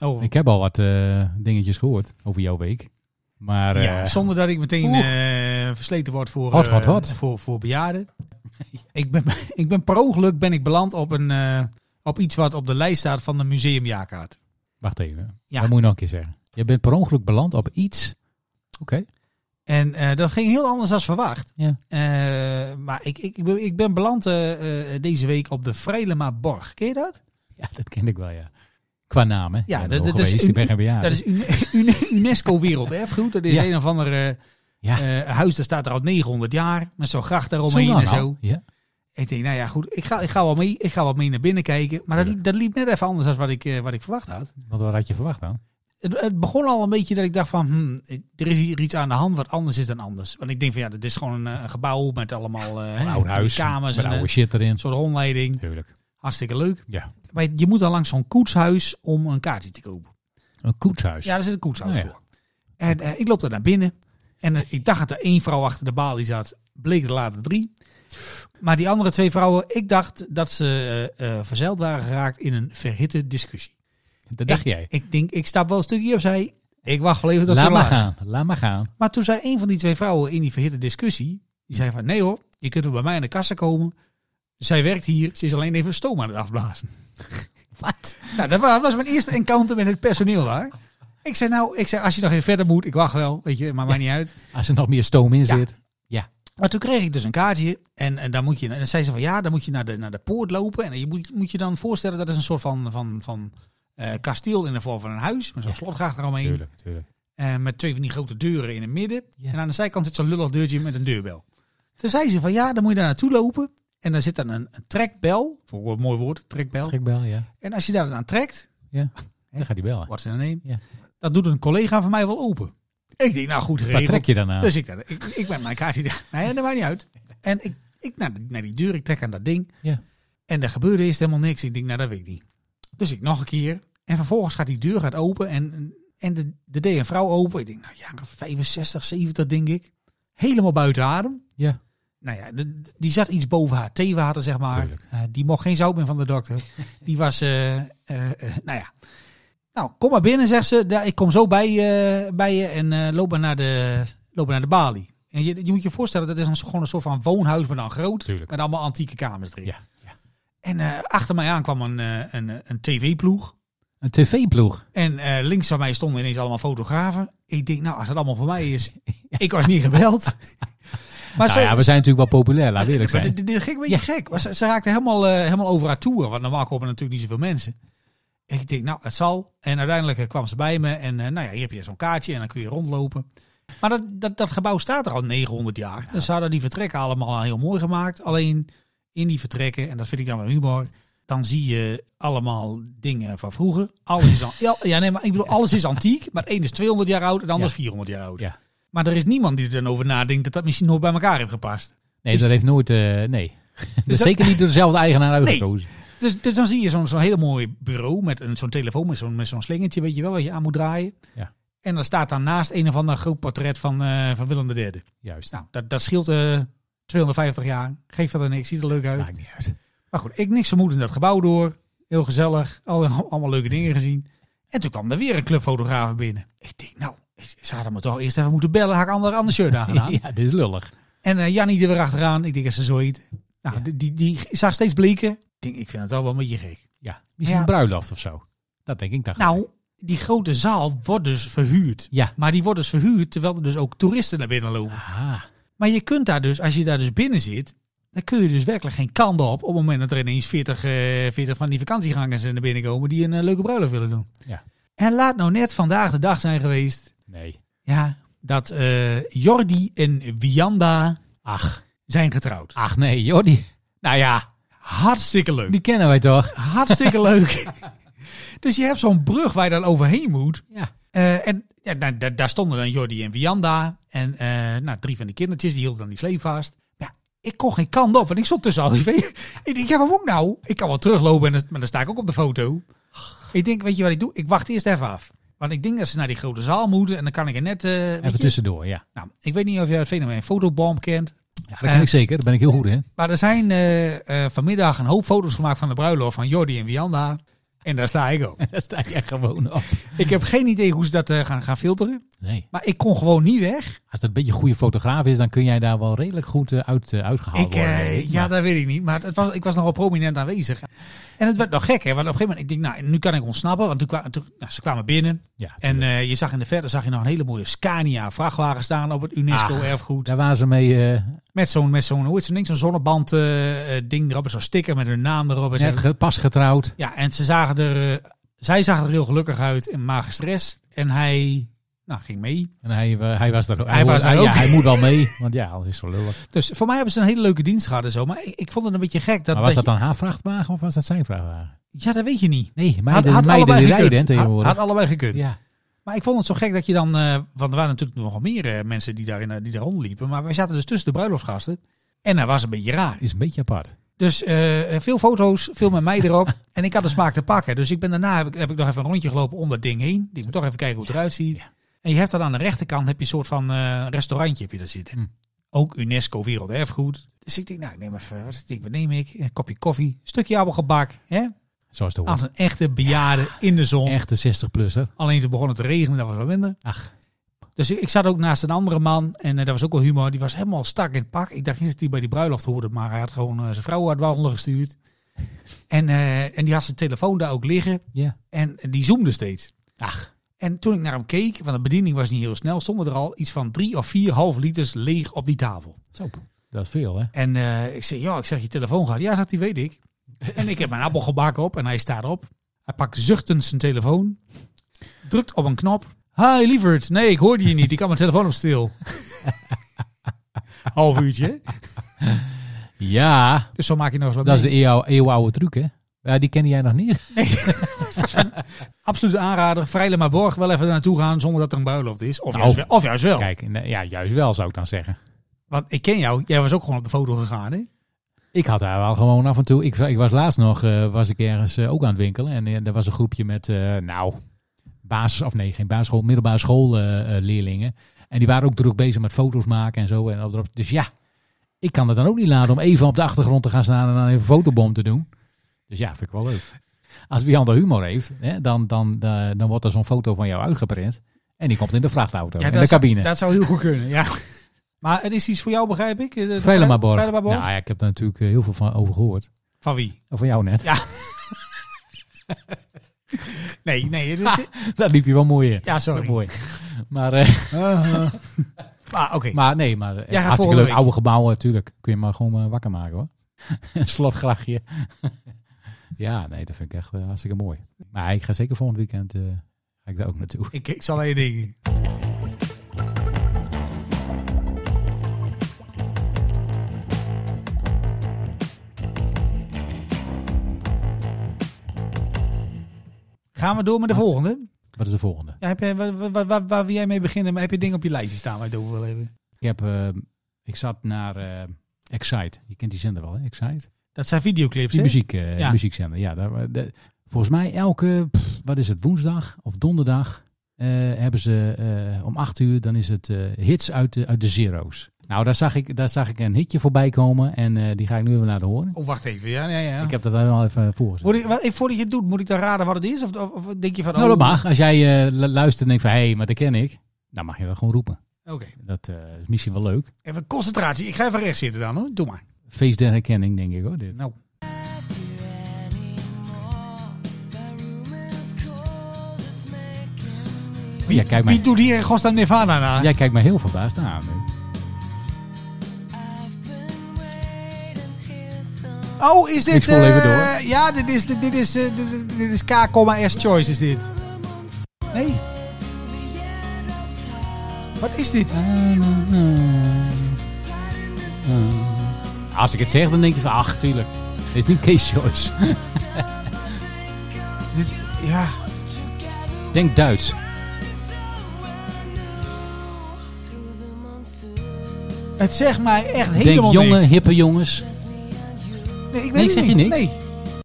Speaker 4: Oh,
Speaker 5: Ik heb al wat eh, dingetjes gehoord over jouw week. Maar eh,
Speaker 4: ja, zonder dat ik meteen
Speaker 5: oeh.
Speaker 4: eh, versleten word voor,
Speaker 5: Hot, hot,
Speaker 4: eh,
Speaker 5: hot.
Speaker 4: voor, voor bejaarden. ik, ben, ik ben per ongeluk ben ik beland op, een, eh, op iets wat op de lijst staat van de museumjaarkaart.
Speaker 5: wacht even.
Speaker 4: Ja.
Speaker 5: Dat moet je nog een keer zeggen. Je bent per ongeluk beland op iets. Oké.
Speaker 4: En eh, dat ging heel anders dan verwacht.
Speaker 5: Ja.
Speaker 4: Eh, maar ik, ik, ik ben- ik ben beland eh, eh, deze week op de Freilema Borg. Ken je dat?
Speaker 5: Ja, dat ken ik wel, ja. Qua naam, hè?
Speaker 4: Ja,
Speaker 5: Ik ben
Speaker 4: dat-
Speaker 5: er wel
Speaker 4: dat is
Speaker 5: geweest. Ik ben geen bejaarde.
Speaker 4: Dat is Une- UNESCO Werelderfgoed. Dat is
Speaker 5: Ja.
Speaker 4: een of ander eh,
Speaker 5: ja,
Speaker 4: eh, huis, dat staat er al 900 jaar. Met zo'n gracht
Speaker 5: Zo
Speaker 4: daaromheen
Speaker 5: lang
Speaker 4: en
Speaker 5: al.
Speaker 4: zo.
Speaker 5: Ja.
Speaker 4: Ik denk, nou ja, goed, ik ga, ik ga, wel, mee, ik ga wel mee naar binnen kijken. Maar dat, dat liep net even anders dan wat ik, eh, wat ik verwacht had.
Speaker 5: Want wat had je verwacht dan?
Speaker 4: Het, het begon al een beetje dat ik dacht van, hmm, er is hier iets aan de hand wat anders is dan anders. Want ik denk van, ja, dit is gewoon een, eh, een gebouw met allemaal eh,
Speaker 5: Een
Speaker 4: hè,
Speaker 5: oud huis,
Speaker 4: kamers
Speaker 5: met
Speaker 4: en
Speaker 5: oude
Speaker 4: een
Speaker 5: shit erin.
Speaker 4: soort rondleiding.
Speaker 5: Tuurlijk.
Speaker 4: Hartstikke leuk.
Speaker 5: Ja.
Speaker 4: Maar je moet dan langs zo'n koetshuis om een kaartje te kopen.
Speaker 5: Een koetshuis.
Speaker 4: Ja, daar zit een koetshuis
Speaker 5: Oh ja.
Speaker 4: voor. En eh, ik loop daar naar binnen. En eh, ik dacht dat er één vrouw achter de balie zat. Bleek er later drie. Maar die andere twee vrouwen, ik dacht dat ze eh, eh, verzeild waren geraakt in een verhitte discussie.
Speaker 5: dat dacht
Speaker 4: ik,
Speaker 5: jij.
Speaker 4: Ik denk, ik stap wel een stukje opzij. Ik wacht wel even tot
Speaker 5: Laat
Speaker 4: ze
Speaker 5: maar
Speaker 4: lachen.
Speaker 5: gaan. Laat maar gaan.
Speaker 4: Maar toen zei een van die twee vrouwen in die verhitte discussie, die zei van nee hoor, je kunt wel bij mij aan de kassa komen. Zij werkt hier, ze is alleen even stoom aan het afblazen.
Speaker 5: Wat?
Speaker 4: Nou, dat wa- was mijn eerste encounter met het personeel daar. Ik zei nou, ik zei, als je nog even verder moet, ik wacht wel, weet je, maar mij niet uit.
Speaker 5: Als er nog meer stoom in
Speaker 4: Ja.
Speaker 5: zit.
Speaker 4: Maar toen kreeg ik dus een kaartje en, en dan moet je, en dan zei ze van ja, dan moet je naar de, naar de poort lopen. En je moet, moet je dan voorstellen, dat is een soort van, van, van eh, kasteel in de vorm van een huis, met zo'n
Speaker 5: Ja.
Speaker 4: slotgracht eromheen.
Speaker 5: Tuurlijk, tuurlijk.
Speaker 4: Eh, met twee van die grote deuren in het midden.
Speaker 5: Ja.
Speaker 4: En aan de zijkant zit zo'n lullig deurtje met een deurbel. Toen zei ze van ja, dan moet je daar naartoe lopen. En daar zit dan een, een trekbel. Voor een mooi woord, trekbel.
Speaker 5: Schrikbel, ja.
Speaker 4: En als je daar aan trekt,
Speaker 5: Dan gaat die bellen.
Speaker 4: wordt zijn name.
Speaker 5: Ja.
Speaker 4: Dat doet een collega van mij wel open. Ik denk, nou goed
Speaker 5: Waar
Speaker 4: geregeld.
Speaker 5: trek je dan aan?
Speaker 4: Dus ik, ik, ik ben mijn kaartje daar. Nou ja, dat maakt niet uit. En ik, ik naar, die- naar die deur, ik trek aan dat ding.
Speaker 5: Ja.
Speaker 4: En er gebeurde eerst helemaal niks. Ik denk, nou dat weet ik niet. Dus ik nog een keer. En vervolgens gaat die deur gaat open en, en de, de deed een vrouw open. Ik denk, nou jaren 65, 70 denk ik. Helemaal buiten adem.
Speaker 5: Ja.
Speaker 4: Nou ja, de- die zat iets boven haar theewater, zeg maar.
Speaker 5: Tuurlijk.
Speaker 4: Eh, die mocht geen zout meer van de dokter. Die was, eh, eh, eh, nou ja. Nou, kom maar binnen, zegt ze. Ja, ik kom zo bij, eh, bij je en eh, loop, maar naar de, loop maar naar de balie. En je, je moet je voorstellen, dat is een, gewoon een soort van woonhuis, maar dan groot.
Speaker 5: Tuurlijk.
Speaker 4: Met allemaal antieke kamers erin.
Speaker 5: Ja. ja.
Speaker 4: En eh, achter mij aan kwam een, eh, een, eh, een tv-ploeg.
Speaker 5: Een tv-ploeg.
Speaker 4: En eh, links van mij stonden ineens allemaal fotografen. Ik denk, nou, als het allemaal voor mij is. Ik was niet gebeld. maar
Speaker 5: Nou ja, we zijn natuurlijk wel populair, laat we eerlijk
Speaker 4: maar
Speaker 5: zijn.
Speaker 4: dit- dit- dit ging een beetje gek. Maar ze, ze raakte helemaal, eh, helemaal over haar toer. Want normaal komen er natuurlijk niet zoveel mensen. Ik denk, nou, het zal. En uiteindelijk eh, kwam ze bij me. En eh, nou ja, hier heb je zo'n kaartje en dan kun je rondlopen. Maar dat, dat, dat gebouw staat er al 900 jaar. Dus ze hadden die vertrekken allemaal heel mooi gemaakt. Alleen in die vertrekken, en dat vind ik dan wel humor... dan zie je allemaal dingen van vroeger. Alles is, an- ja, ja, nee, maar ik bedoel, alles is antiek, maar één is 200 jaar oud en de ander
Speaker 5: Ja.
Speaker 4: is 400 jaar oud.
Speaker 5: Ja.
Speaker 4: Maar er is niemand die er dan over nadenkt dat dat misschien nooit bij elkaar heeft gepast.
Speaker 5: Nee, dat heeft nooit... eh, nee. Dus
Speaker 4: dat-
Speaker 5: zeker niet door dezelfde eigenaar uitgekozen.
Speaker 4: Dus, dus dan zie je zo'n zo'n hele mooi bureau met een- zo'n telefoon met zo'n met zo'n slingertje, weet je wel, wat je aan moet draaien.
Speaker 5: Ja.
Speaker 4: En dan staat daarnaast een of ander groot portret van, eh, van Willem III.
Speaker 5: Juist.
Speaker 4: Nou, dat, dat scheelt eh, 250 jaar. Geeft verder niks, ziet er leuk uit.
Speaker 5: Maakt niet uit.
Speaker 4: Maar goed, ik niks vermoedend dat gebouw door. Heel gezellig, al, allemaal leuke dingen gezien. En toen kwam er weer een clubfotograaf binnen. Ik denk, nou, ik- ze hadden me toch eerst even moeten bellen. Had ik ander, ander shirt aangedaan.
Speaker 5: Ja, dit is lullig.
Speaker 4: En eh, Jannie er weer achteraan. Ik denk, is ze zo heet. Nou,
Speaker 5: Ja.
Speaker 4: die, die, die zag steeds bleken. Ik denk, ik vind het al wel een beetje gek.
Speaker 5: Ja, misschien
Speaker 4: Ja.
Speaker 5: een bruiloft of zo. Dat denk ik dan.
Speaker 4: Nou, die grote zaal wordt dus verhuurd.
Speaker 5: Ja.
Speaker 4: Maar die wordt dus verhuurd terwijl er dus ook toeristen naar binnen lopen.
Speaker 5: Ah,
Speaker 4: Maar je kunt daar dus, als je daar dus binnen zit, dan kun je dus werkelijk geen kant op. Op het moment dat er ineens 40, eh, 40 van die vakantiegangers naar binnen komen die een eh, leuke bruiloft willen doen.
Speaker 5: Ja.
Speaker 4: En laat nou net vandaag de dag zijn geweest.
Speaker 5: nee.
Speaker 4: Ja, dat eh, Jordi en Wianda
Speaker 5: Ach,
Speaker 4: zijn getrouwd.
Speaker 5: ach nee, Jordi. Nou ja,
Speaker 4: Hartstikke leuk.
Speaker 5: die kennen wij toch?
Speaker 4: Hartstikke leuk. Dus je hebt zo'n brug waar je dan overheen moet.
Speaker 5: Ja.
Speaker 4: Eh, en ja, nou, daar- daar stonden dan Jordi en Wianda. En eh, nou, drie van die kindertjes, die hielden dan die slee vast. Ja, ik kon geen kant op, want ik stond tussen al die twee. ik denk, ja, wat moet ik nou? Ik kan wel teruglopen, en dan, maar dan sta ik ook op de foto. Ik denk, weet je wat ik doe? Ik wacht eerst even af. Want ik denk dat ze naar die grote zaal moeten. En dan kan ik er net... eh, weet je-
Speaker 5: Even tussendoor, ja.
Speaker 4: nou, ik weet niet of jij het fenomeen fotobomb kent.
Speaker 5: ja
Speaker 4: Eh.
Speaker 5: dat ken ik zeker. Daar ben ik heel goed in.
Speaker 4: Maar er zijn eh, eh, vanmiddag een hoop foto's gemaakt van de bruiloft van Jordi en Wianda. En daar sta ik ook.
Speaker 5: Daar sta je gewoon op.
Speaker 4: ik heb geen idee hoe ze dat eh, gaan, gaan filteren.
Speaker 5: Nee.
Speaker 4: Maar ik kon gewoon niet weg.
Speaker 5: Als dat een beetje een goede fotograaf is, dan kun jij daar wel redelijk goed eh, uit, eh, uitgehaald
Speaker 4: Ik,
Speaker 5: worden.
Speaker 4: eh,
Speaker 5: denk ik.
Speaker 4: ja,
Speaker 5: Maar-
Speaker 4: dat weet ik niet. Maar het was, ik was nogal prominent aanwezig. En het werd nog gek, hè? Want op een gegeven moment, ik denk, nou, nu kan ik ontsnappen. Want toen kwamen, toen, nou, ze kwamen binnen.
Speaker 5: ja,
Speaker 4: En eh, je zag in de verte zag je nog een hele mooie Scania-vrachtwagen staan op het
Speaker 5: Ach.
Speaker 4: UNESCO-erfgoed.
Speaker 5: daar waren ze mee eh
Speaker 4: Met zo'n, met zo'n, hoe heet zo'n ding? Zo'n zonneband-ding erop. en Zo'n sticker met hun naam erop. En
Speaker 5: net
Speaker 4: zo.
Speaker 5: ge- pas getrouwd.
Speaker 4: Ja, en ze zagen er, eh, zij zagen er heel gelukkig uit en maar gestrest. En hij, nou, ging mee.
Speaker 5: En hij, eh, hij was daar ook.
Speaker 4: Hij was daar
Speaker 5: ja,
Speaker 4: ook.
Speaker 5: hij moet wel mee, want ja, anders is het zo lullig.
Speaker 4: Dus voor mij hebben ze een hele leuke dienst gehad en zo. Maar ik, ik vond het een beetje gek. Dat,
Speaker 5: maar was dat
Speaker 4: dat
Speaker 5: dan haar vrachtwagen of was dat zijn vrachtwagen?
Speaker 4: je- Ja, dat weet je niet.
Speaker 5: Nee,
Speaker 4: had,
Speaker 5: meiden,
Speaker 4: had
Speaker 5: meiden
Speaker 4: allebei
Speaker 5: die rijden hè,
Speaker 4: gekund. Had,
Speaker 5: tegenwoordig.
Speaker 4: had allebei gekund.
Speaker 5: ja.
Speaker 4: Maar ik vond het zo gek dat je dan... eh, want er waren natuurlijk nog meer eh, mensen die daar, in, eh, die daar rondliepen. Maar we zaten dus tussen de bruiloftsgasten. En dat was een beetje raar.
Speaker 5: Is een beetje apart.
Speaker 4: Dus eh, veel foto's, veel met mij erop. en ik had de smaak te pakken. Dus ik ben daarna heb ik, heb ik nog even een rondje gelopen om dat ding heen. Ik moet toch even kijken hoe het eruit ziet.
Speaker 5: ja.
Speaker 4: En je hebt dan aan de rechterkant heb je een soort van eh, restaurantje heb je daar zitten.
Speaker 5: Hmm.
Speaker 4: Ook UNESCO Werelderfgoed. Dus ik denk, nou, ik neem even, wat, is het? wat neem ik? Een kopje koffie, stukje appelgebak. Hè?
Speaker 5: Zoals het
Speaker 4: Als
Speaker 5: hoort.
Speaker 4: een echte bejaarde in de zon.
Speaker 5: Echte 60-plusser.
Speaker 4: Alleen toen begon het te regenen, dat was wel minder.
Speaker 5: Ach,
Speaker 4: Dus ik, ik zat ook naast een andere man en eh, dat was ook wel humor. Die was helemaal stak in het pak. Ik dacht niet dat hij bij die bruiloft hoorde, maar hij had gewoon eh, zijn vrouw uit wandelen gestuurd. En, eh, en die had zijn telefoon daar ook liggen
Speaker 5: ja.
Speaker 4: en die zoomde steeds.
Speaker 5: Ach,
Speaker 4: En toen ik naar hem keek, want de bediening was niet heel snel, stonden er al iets van drie of vier half liters leeg op die tafel.
Speaker 5: zo. Dat is veel, hè?
Speaker 4: En eh, ik zei, ja, ik zeg, je telefoon gaat. Ja, zegt hij, weet ik. En ik heb mijn appelgebak op en hij staat op. Hij pakt zuchtend zijn telefoon, drukt op een knop. Hi, lieverd. Nee, ik hoorde je niet. Ik had mijn telefoon op stil. Half uurtje. hè?
Speaker 5: Ja,
Speaker 4: Dus zo maak je nog eens wat
Speaker 5: dat is de
Speaker 4: mee.
Speaker 5: eeuw, eeuwenoude truc, hè? Ja, die kende jij nog niet.
Speaker 4: Absoluut aanrader. Vrijle maar borg wel even naartoe gaan zonder dat er een bruiloft is. Of,
Speaker 5: Nou,
Speaker 4: juist, wel, of juist wel.
Speaker 5: Kijk, nou, ja, juist wel, zou ik dan zeggen.
Speaker 4: Want ik ken jou. Jij was ook gewoon op de foto gegaan, hè?
Speaker 5: Ik had daar wel gewoon af en toe. Ik, ik was laatst nog eh, was ik ergens eh, ook aan het winkelen. En eh, er was een groepje met, eh, nou, basis, of nee, geen basisschool, middelbare schoolleerlingen. en die waren ook druk bezig met foto's maken en zo. En al erop. dus ja, ik kan het dan ook niet laten om even op de achtergrond te gaan staan en dan even een fotobom te doen. Dus ja, vind ik wel leuk. Als wie ander humor heeft, hè, dan, dan, eh, dan, dan wordt er zo'n foto van jou uitgeprint. En die komt in de vrachtauto,
Speaker 4: Ja,
Speaker 5: in
Speaker 4: dat
Speaker 5: de
Speaker 4: zou-
Speaker 5: cabine.
Speaker 4: Dat zou heel goed kunnen, ja. Maar het is iets voor jou, begrijp ik? Eh, de
Speaker 5: Vrijlema
Speaker 4: Vrij-
Speaker 5: Borg.
Speaker 4: Vrijlema
Speaker 5: Nou
Speaker 4: Borg?
Speaker 5: ja, ik heb daar natuurlijk eh, heel veel van over gehoord.
Speaker 4: Van wie?
Speaker 5: Van jou net.
Speaker 4: Ja. Nee, nee. dit- dit-
Speaker 5: Daar liep je wel mooi in.
Speaker 4: Ja, sorry.
Speaker 5: Mooi. Maar, eh,
Speaker 4: Maar Ah, oké.
Speaker 5: maar nee, maar eh,
Speaker 4: gaat
Speaker 5: hartstikke
Speaker 4: volgende
Speaker 5: leuk.
Speaker 4: week.
Speaker 5: Oude gebouwen, natuurlijk. Kun je maar gewoon eh, wakker maken hoor. Een slotgrachtje. ja, nee, dat vind ik echt eh, hartstikke mooi. Maar ik ga zeker volgend weekend eh, ga ik daar ook naartoe.
Speaker 4: Ik, ik zal aan je denken. Gaan we door met de
Speaker 5: Wat?
Speaker 4: volgende?
Speaker 5: Wat is de volgende?
Speaker 4: Ja, heb je, waar, waar, waar, waar wil jij mee beginnen? Maar heb je dingen op je lijstje staan waar je het over wil hebben?
Speaker 5: Ik, heb, eh, ik zat naar eh, Excite. Je kent die zender wel, hè? Excite.
Speaker 4: Dat zijn videoclips,
Speaker 5: Die
Speaker 4: hè?
Speaker 5: muziek, eh,
Speaker 4: Ja.
Speaker 5: muziekzender. Ja, daar, de- volgens mij elke, pff, wat is het, woensdag of donderdag eh, hebben ze eh, om acht uur, dan is het eh, hits uit de, uit de zero's. Nou, daar zag, ik, daar zag ik een hitje voorbij komen en eh, die ga ik nu even laten horen.
Speaker 4: Oh, wacht even. Ja, ja, ja.
Speaker 5: Ik heb dat wel even voorgezet.
Speaker 4: Moet ik, wat, eh, voordat je het doet, moet ik dan raden wat het is? Of, of, of denk je van...
Speaker 5: Nou, dat
Speaker 4: oh,
Speaker 5: mag. Als jij eh, lu- luistert en denkt van, hé, hey, maar dat ken ik. Dan mag je dat gewoon roepen.
Speaker 4: Oké.
Speaker 5: Dat eh, is misschien wel leuk.
Speaker 4: Even concentratie. Ik ga even recht zitten dan, hoor. Doe maar.
Speaker 5: Feest der herkenning, denk ik hoor. Dit.
Speaker 4: Nou, wie,
Speaker 5: Ja, kijk maar.
Speaker 4: wie doet hier Gosta Nirvana na?
Speaker 5: Jij kijkt mij heel verbaasd aan. hè.
Speaker 4: Oh, is dit...
Speaker 5: Ik spoel even
Speaker 4: eh,
Speaker 5: door.
Speaker 4: Ja, dit is, dit, dit is, eh, dit, is- dit is K, S Choice, is dit. Nee. Wat is dit?
Speaker 5: Als ik het zeg, dan denk je van, ach, tuurlijk. Dit is niet Kees Joyce.
Speaker 4: dit ja.
Speaker 5: Denk Duits.
Speaker 4: Het zegt mij echt
Speaker 5: Denk
Speaker 4: helemaal
Speaker 5: jonge,
Speaker 4: niks.
Speaker 5: hippe jongens.
Speaker 4: Nee, ik weet
Speaker 5: Nee,
Speaker 4: het
Speaker 5: zeg je
Speaker 4: niet.
Speaker 5: niks?
Speaker 4: Nee.